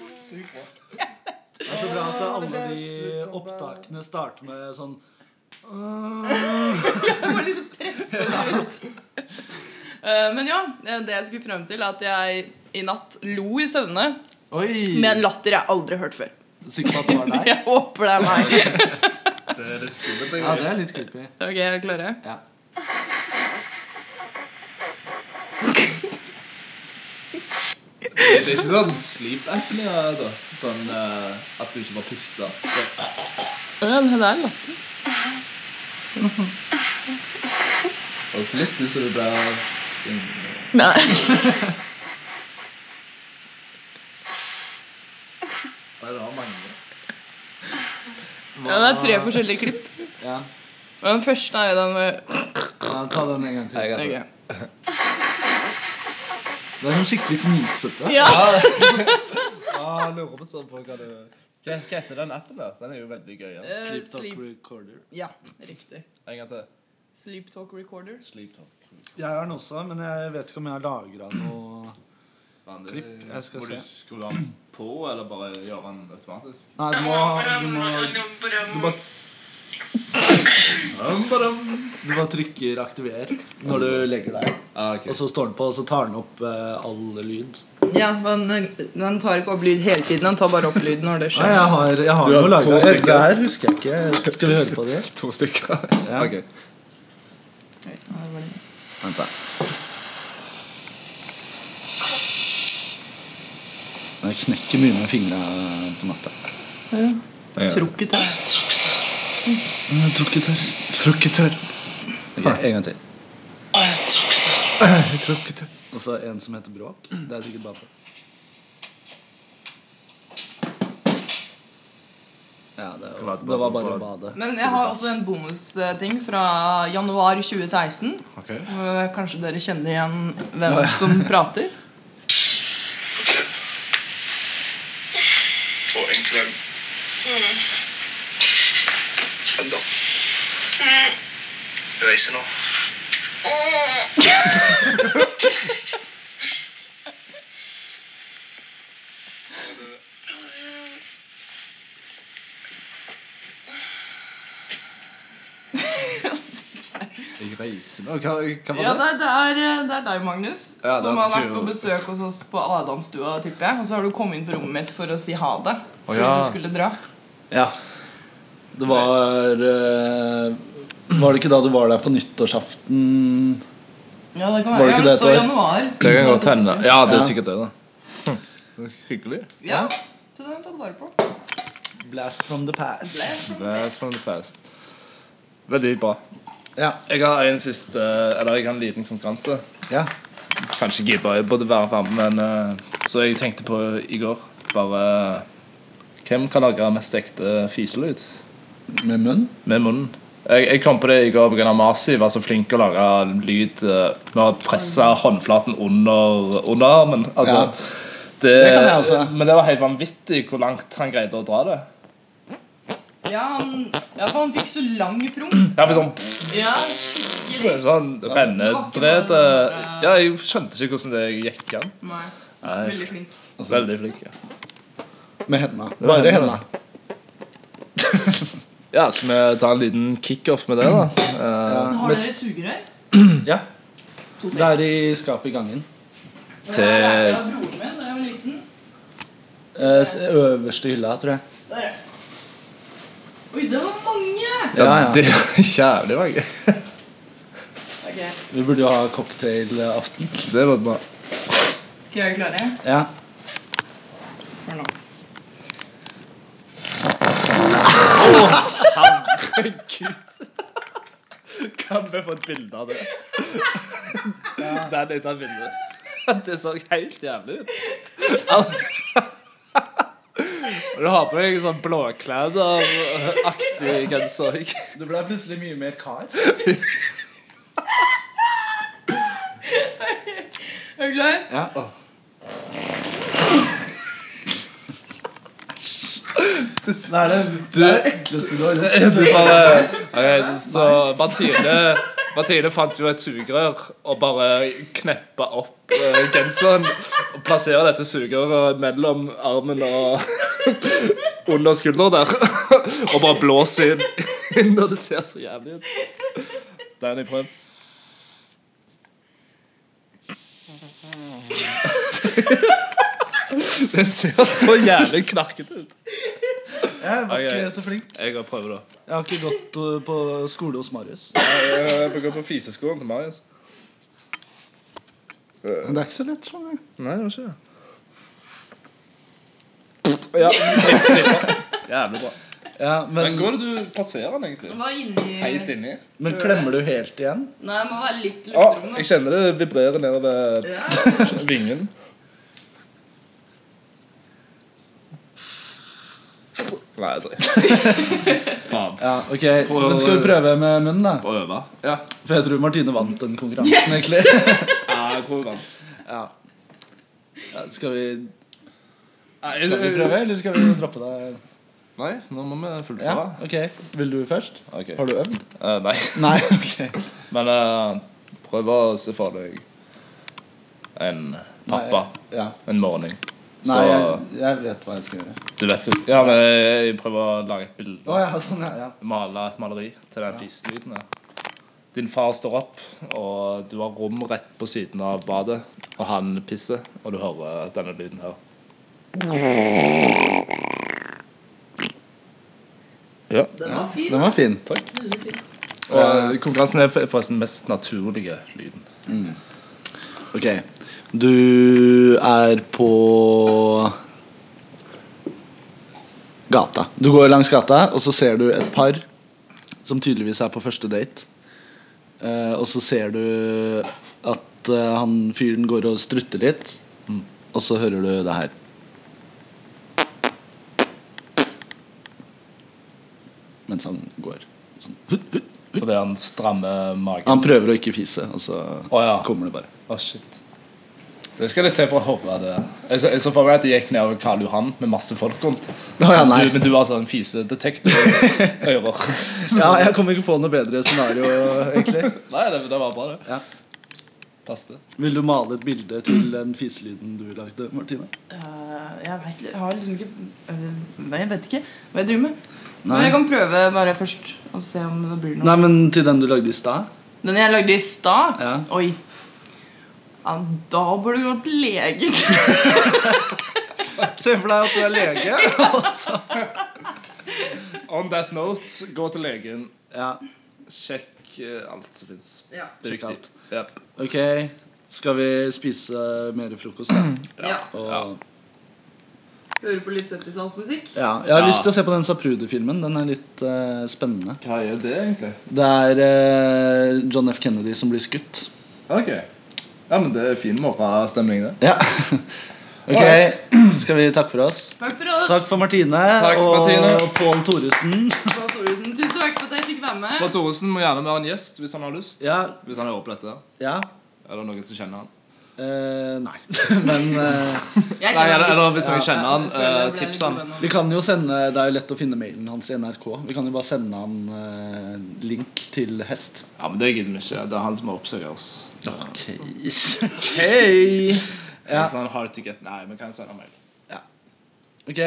Det er så bra at alle de opptakene starter med sånn
Jeg må liksom presse det ut. Eh, men ja, eh, det jeg skulle frem til, er at jeg i natt lo i søvne med en latter jeg aldri har hørt før.
Sikker på at det var deg?
Jeg håper det er meg.
Det er litt skummelt.
Ja, det er litt creepy.
Ok, er dere klare?
Ja.
Det er ikke sånn sleep-appen ja, da. Sånn eh, at du ikke bare puster.
Ja, det er latter.
Og så litt ut som du blir
Nei.
Nei, det var mange.
Ja, det er tre forskjellige klipp.
Ja.
Og den første er jo den med
ja, Ta den en gang til.
Ok.
Det er sånn skikkelig fnisete.
Ja.
Ah, jeg lurer på sånn på hva det Hva hva heter den appen der? Den er jo veldig gøy. ass.
Eh, Sleep Talk sleep.
recorder.
Ja, riktig.
En gang til.
Sleep Talk Recorder.
Sleep talk.
Jeg har den også, men jeg vet ikke om jeg har lagra noe klipp. Jeg skal
må
se.
Eh, du skru den på, eller bare gjøre den automatisk?
Nei, du må Du, må, du bare Du bare trykker 'aktiver' når du legger deg.
Ah,
Og så står den på, og så tar den opp eh, all lyd.
Ja, men eh, Den tar ikke opp lyd hele tiden. Den tar bare opp lyd når det
Nei,
skjer.
jeg har, jeg har
Du har
noe
to
lagra.
stykker.
Det her husker jeg ikke. Skal vi høre på det?
To stykker.
Ja.
Ok. Vent, da.
Jeg knekker mye med fingrene på natta.
Ja. Trukket her.
Trukketørr.
Trukketørr.
Okay, en gang til.
Og så en som heter Bråk. Det er sikkert bare Ja, det var, det var bare å bade.
Men jeg har også en bonusting fra januar 2016. Eh, Kanskje dere kjenner igjen hvem
Ja, ja.
som prater?
Og en klem. Kom da. Reiser nå.
reise med? Hva, hva var
Ja,
det?
nei, det, er, eh, det er deg, Magnus,
Ja, det
som
er
har vært
tur.
på besøk hos oss på Adamstua. tipper jeg Og så har du kommet inn på rommet mitt for å si ha det. Fordi
ja.
du skulle dra
Ja. Det var eh, Var det ikke da du var der på nyttårsaften?
Ja, det kan
Var
være.
det
Ja,
ikke
det
det,
står
Tor?
januar.
Det kan godt hende. Ja, det er
Ja.
sikkert det, da. Hyggelig.
Ja, så det har jeg tatt vare på.
Blast from the past.
Blast from the past. Veldig bra.
Ja.
Jeg har en siste Eller jeg har en liten konkurranse.
Ja.
Kanskje gibba jeg burde være varm, men eh, Så jeg tenkte på i går Bare eh, Hvem kan lage mest ekte fiselyd?
Med munnen?
Med munnen. Jeg, jeg kom på det i går pga. Masi var så flink å lage lyd eh, med å presse håndflaten under, under armen. Altså,
Ja.
det,
Det kan jeg også.
Men det var helt vanvittig hvor langt han greide å dra det.
Ja, han, ja, for han fikk så lang promp.
Ja, for sånn
Ja,
Det
skikkelig.
er Sånn rennedrede Ja, jeg skjønte ikke hvordan det gikk an.
Nei.
Nei. altså,
Veldig flink.
eh, Veldig flink, ja.
Med hendene.
var
Bare
hendene.
hendene.
ja. Så vi tar en liten kickoff med det, da. Eh,
Har dere sugerør?
Ja. Det er i skapet i gangen.
Til
Ja, broren min da jeg var liten.
eh, s- øverste hylla, tror jeg.
Der. Oi, det var mange!
Ja, ja.
Eh, Det er jævlig mange.
Ok,
Vi burde jo ha cocktailaften.
Det var bra.
ok, er dere klare?
Ja.
Hør nå.
Kan vi få et bilde av det? Der litt av bildet. Det så helt jævlig ut. Altså. Og Du har på deg en sånn blåklæder-aktig genser. ikke?
Du ble plutselig mye mer kar.
Er du klar?
Ja. Det er det, det, er det ekleste du har gjort.
Du bare, ok, så Martine, Martine fant jo et sugerør og bare kneppa opp eh, genseren. Og plasserer dette sugerøret mellom armen og under skulderen der. Og bare blåser inn, inn, og det ser så jævlig ut. Danny, prøv. Det ser så jævlig knarkete ut.
Jeg var
Ok.
ikke så flink.
Jeg har prøvd, da.
Jeg har ikke gått uh, på skole hos Marius.
Jeg går på fiseskolen til Marius.
Men det er ikke så lett. Sånn,
Nei, det var ikke det. Ja, jævlig bra. Jævlig bra.
ja, men,
Men går det du passerer den, egentlig?
Den var inni
Helt inni?
men klemmer du helt igjen?
Nei, det må være litt
Å,
lukterom.
jeg kjenner det vibrerer nedover
Ja.
vingen. Nei, jeg driter. Faen.
Ja, ok, Men skal vi prøve med munnen, da?
Prøve. Ja.
For jeg tror Martine vant den konkurransen.
Yes!
egentlig
ja, jeg tror det.
ja. Ja, skal, vi,
Nei,
skal vi prøve, eller skal vi droppe det?
Nei, nå må vi
Ja,
fullføre.
ok, Vil du først?
Ok.
Har du øvd?
Eh, nei.
Nei, ok
Men eh, prøv å se for deg en pappa
Nei, ja.
en morgen.
Nei,
Så
jeg, jeg vet hva jeg skal gjøre.
du vet hva Ja, men jeg prøver å lage et bilde.
Å ja, sånn, ja, ja.
Male et maleri til den fiselyden der. Din far står opp, og du har rom rett på siden av badet. Og han pisser, og du hører denne lyden her. Ja.
Den var fin.
Den var fin.
Veldig fin.
Og konkurransen er for- forresten den mest naturlige lyden.
Ok, du er på gata. Du går langs gata, og så ser du et par som tydeligvis er på første date. Eh, og så ser du at eh, han fyren går og strutter litt, og så hører du det her. Mens han går. Sånn.
Fordi han strammer magen.
Han prøver å ikke fise, og så
Å ja.
kommer det bare.
Å, shit. Det skal litt til for å høre det. Jeg så, jeg så for meg at jeg gikk nedover Karl Johan med masse folk rundt.
Å ja, nei.
du, men du var sånn fisedetektor-ører.
Ja, jeg kom ikke på noe bedre scenario, egentlig.
nei, det, det var bra, det.
Ja.
Passet.
Vil du male et bilde til den fiselyden du lagde, Martine?
Eh, jeg vet, li- har liksom ikke eh, Nei, jeg vet ikke hva jeg driver med.
Nei.
Men jeg kan prøve bare først og se om det blir noe.
Nei, men til den du lagde i stad?
Den jeg lagde i stad Oi. Ja, da burde du gått til legen.
Se for deg at du er lege. altså. og så-
On that note, gå til legen. Sjekk eh, alt som fins.
Ja.
Sjekk alt. Ok, skal vi spise mer frokost, da?
Ja.
Og,
Hører på litt 70-tallsmusikk.
ja. Jeg har lyst til å se på den Saprude-filmen. Den er litt eh, spennende.
Hva er det, egentlig?
Det er eh, John F. Kennedy som blir skutt.
Ok. Ja, men det er fin morgenstemning, det.
Ja. Ok, skal vi takke for oss?
Takk for oss.
Takk for Martine
Takk,
og
Martine.
Pål Thoresen.
Pål Thoresen, tusen takk for at jeg fikk være med.
Bård Thoresen må gjerne være en gjest hvis han har lyst. Hvis han hører på dette.
Ja.
Er det noen som kjenner han?
Eh, nei, men eh,
Jeg kjenner Nei, eller- eller hvis noen kjenner han,
jeg føler jeg
eh,
ble
tips
litt sånn
han.
uvenner. Vi kan jo sende, Det er jo lett å finne mailen hans i NRK. Vi kan jo bare sende han eh, link til hest.
Ja, men Det gidder vi ikke. Det er han som har oppsøkt oss.
Ok
Hei!
Ja.
Sånn hard to get. Nei, vi kan sende mail.
Ok.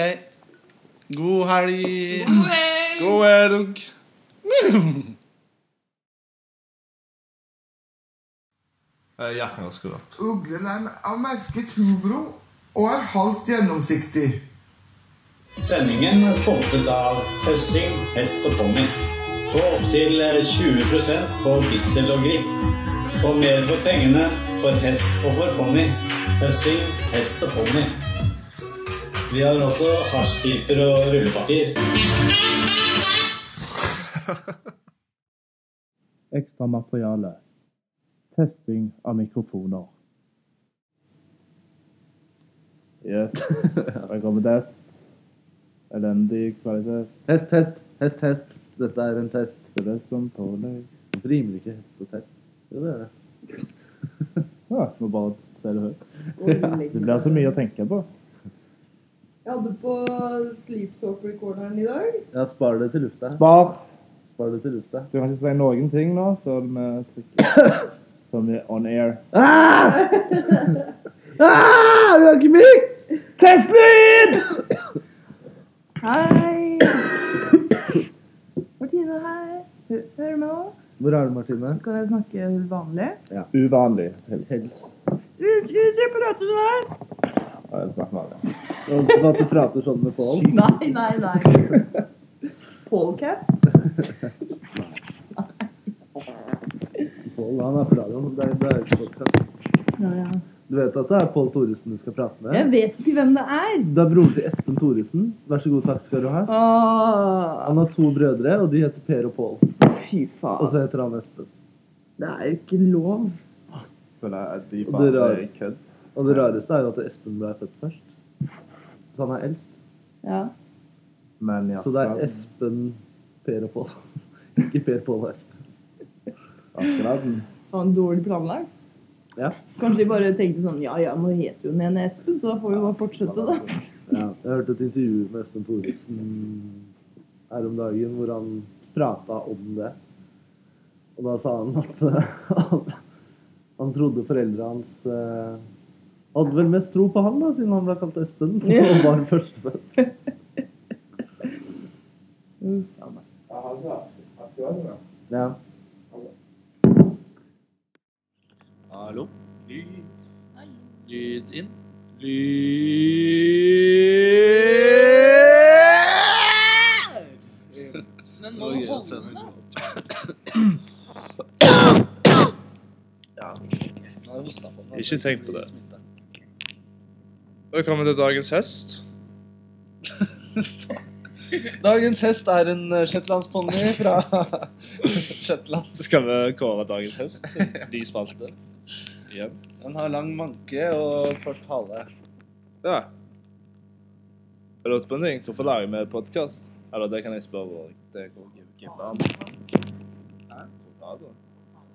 God helg.
God helg.
God helg. Ja, jeg skal skru opp.
Uglen er av merket Hubro og er halvt gjennomsiktig.
Sendingen er sponset av Høssing, hest og ponni. Få opptil 20 på Bissel og Grip. Få mer for pengene for hest og for ponni. Høssing, hest og ponni. Vi har også hasjpiper og rullepapir.
Ekstra materiale. Testing av mikrofoner. Yes. Her kommer test. Elendig kvalitet.
Hest, hest, hest, hest. Dette er en test. Det er som pålegg. Hvorfor rimer ikke hest og test? Jo, det er det.
Ja, Ah, må bare se det høyt. Det blir så mye å tenke på.
Jeg hadde på Sleep Talk Recorderen i dag.
Ja, spar det til lufta.
Spar.
Spar det til lufta.
Du kan ikke si noen ting nå før vi trykker Som er on air.
Ah! Ah! Vi har ikke mikk! Testlyd!
Hei! Martine her. Hø- Hører du meg nå?
Hvor er du, Martine?
Kan jeg snakke vanlig?
Ja.
Uvanlig. Helst.
Ut, ut, se på rattet du har!
Ja, jeg snakker vanlig.
Sånn at du prater sånn med Pål.
Nei, nei, nei. Podcast?
Pål, han er på radioen. Det er, det er ikke podcast.
Ja, ja.
Du vet at det er Pål Thoresen du skal prate med?
Jeg vet ikke hvem det er.
Det er broren til Espen Thoresen. Vær så god, takk skal du ha. Han har to brødre, og de heter Per og Pål.
Fy faen.
Og så heter han Espen.
Det er jo ikke lov.
Føler jeg at de
Og det,
bare
rar-
er kødd.
og det rareste er jo at Espen ble født først. Så han er eldst.
Ja.
Men ja.
Så det er Espen, Per og Pål. Ikke Per, Pål og Espen.
Askeladden.
Faen, dårlig planlagt.
Ja.
Kanskje de bare tenkte sånn Ja, ja, nå heter jo den ene Espen, så da får vi bare fortsette, da.
ja. Jeg hørte et intervju med Espen Thoresen her om dagen hvor han prata om det. Og da sa han at eh, han trodde foreldra hans eh, hadde vel mest tro på han, da, siden han ble kalt Espen.
Ja.
Og var førstefødt.
Mm, faen, da.
Ja.
Hallo? Lyd. Lyd inn. Lyd
Men
må du holde den, da.
Ikke tenk på det. Velkommen til dagens hest.
Dagens hest er en eh, shetlandsponni fra Shetland.
Så skal vi kåre dagens hest. De spalte. Igjen.
Den har lang manke og kort hale.
Ja. Jeg lurte på en ting. Hvorfor lager vi podkast? Eller det kan jeg spørre vår det går ikke an. Hæ? Hvor da, da?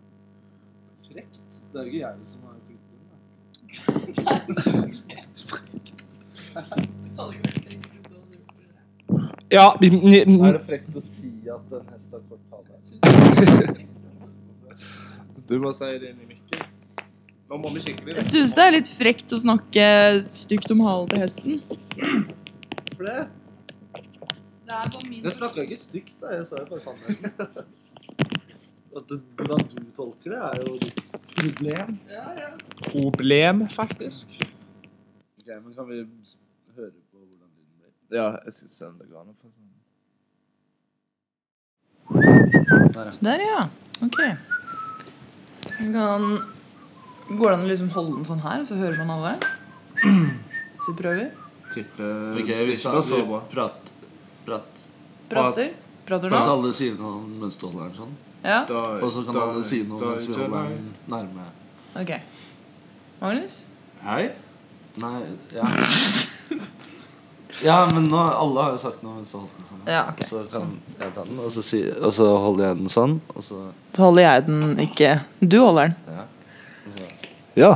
Frekt. Det er jo ikke jeg som har
Ja, vi
Er det frekt å si at en hest har kort hale?
Du må si det inn i mikken. Nå må vi skikkelig
Jeg syns det er litt frekt å snakke stygt om halen til hesten.
Hvorfor det?
Det er bare min
Jeg snakka ikke stygt, da. Jeg sa jo bare sannheten.
At du, hvordan du tolker det, er jo ditt problem.
Problem, faktisk.
Ok, men kan vi s- høre på hvordan lyden blir?
Ja, jeg skal se om det går an å få sånn.
Der, ja. Ok. Man kan, går det an å liksom holde den sånn her, så hører man alle? Så vi prøver.
Tipper
Ok,
tipper
vi, sa,
så
vi
bra.
prat, prat.
Prater. Prater
Mens
nå.
alle sier noe mens du holder den sånn.
Ja.
Og så kan
Da-
alle si noe
da-
mens vi
da-
holder den nærme.
Ok. Magnus?
Hei? Nei, ja. ja, men nå, alle har jo sagt noe mens du holder den sånn.
Ja, ok.
Så kan jeg ta den, og så, si, og så holder jeg den sånn, og så
Så holder jeg den ikke Du holder den.
Ja. Ja.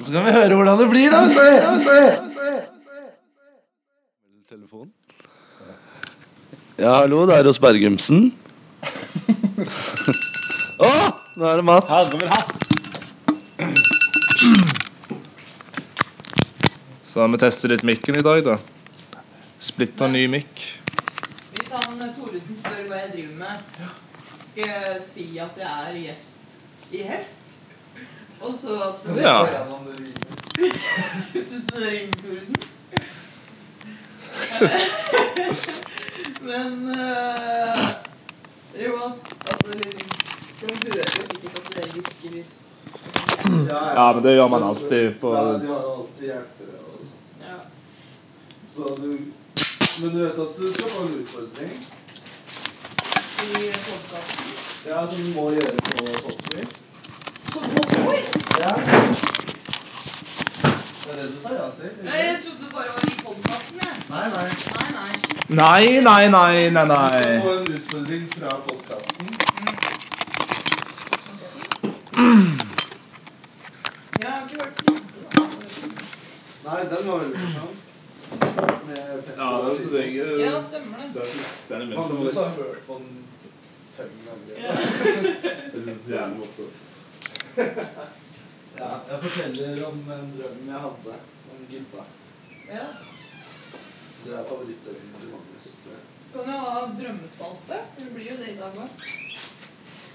Så kan vi høre hvordan det blir, da. Vet du. Vet du.
Telefon?
Ja, hallo, det er hos Bergumsen. Å, nå er det mat.
Her kommer hatt.
Så vi tester litt mikken i dag, da. Splitter ny mikk.
Hvis han eh, Thoresen spør hva jeg driver med, skal jeg si at jeg er gjest i hest? Og så at
Ja.
Syns du det rimer, Thoresen? Men eh, Jo, altså, altså liksom For man hører jo sikkert at det hviskes
Ja, men det gjør man alltid på
Ja, de har jo alltid hjelpere og sånn. Så du Men du vet at du skal få en utfordring?
i podkasten.
Ja, som du må gjøre på Popquiz. Ja. Det er det du sa ja til? ikke?
Nei, jeg trodde det bare var i podkasten, jeg.
Nei, nei.
Nei, nei.
Nei, nei, nei, nei,
Du skal
nei.
få en utfordring fra podkasten.
Jeg har ikke hørt siste, da.
Nei, den var veldig morsom. Med Petter
Ja, den synes jeg er-
Ja, stemmer det.
Den synes- den er min
Magnus har
favoritt.
hørt på den fem ganger.
Ja. Jeg synes det er jævlig morsomt.
Ja, jeg forteller om en drøm jeg hadde om gubba.
Ja.
Det er favorittdrømmen til Magnus, tror jeg.
Kan jo ha drømmespalte. Det blir jo det i dag òg.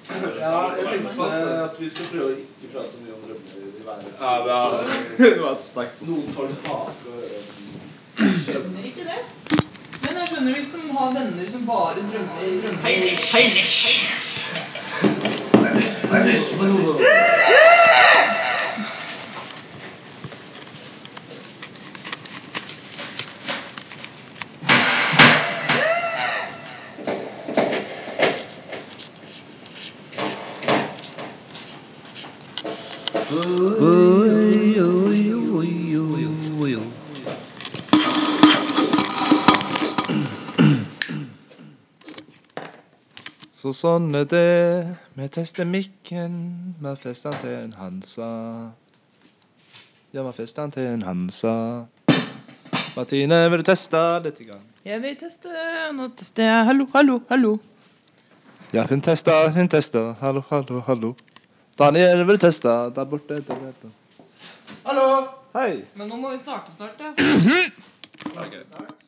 Ja, jeg tenkte at vi skal prøve å ikke prate så mye om drømmer i verden.
Ja, det har det vært sterkt.
Noen folk hater å høre
Skjønner ikke det. Men jeg skjønner hvis de har venner som bare drømmer i drømmer.
Heinrich,
Heinrich!
om
Så sånn er det. Vi tester mikken. Vi har festet den til en Hansa. Ja, vi har festet den til en Hansa. Martine, vil du teste litt? Grann?
Jeg vil teste Nå tester jeg. Hallo, hallo, hallo.
Ja, hun tester, hun tester. Hallo, hallo, hallo. Daniel, vil du teste? Der borte. Der borte.
Hallo!
Hei.
Men nå må vi starte snart, ja.
Ok.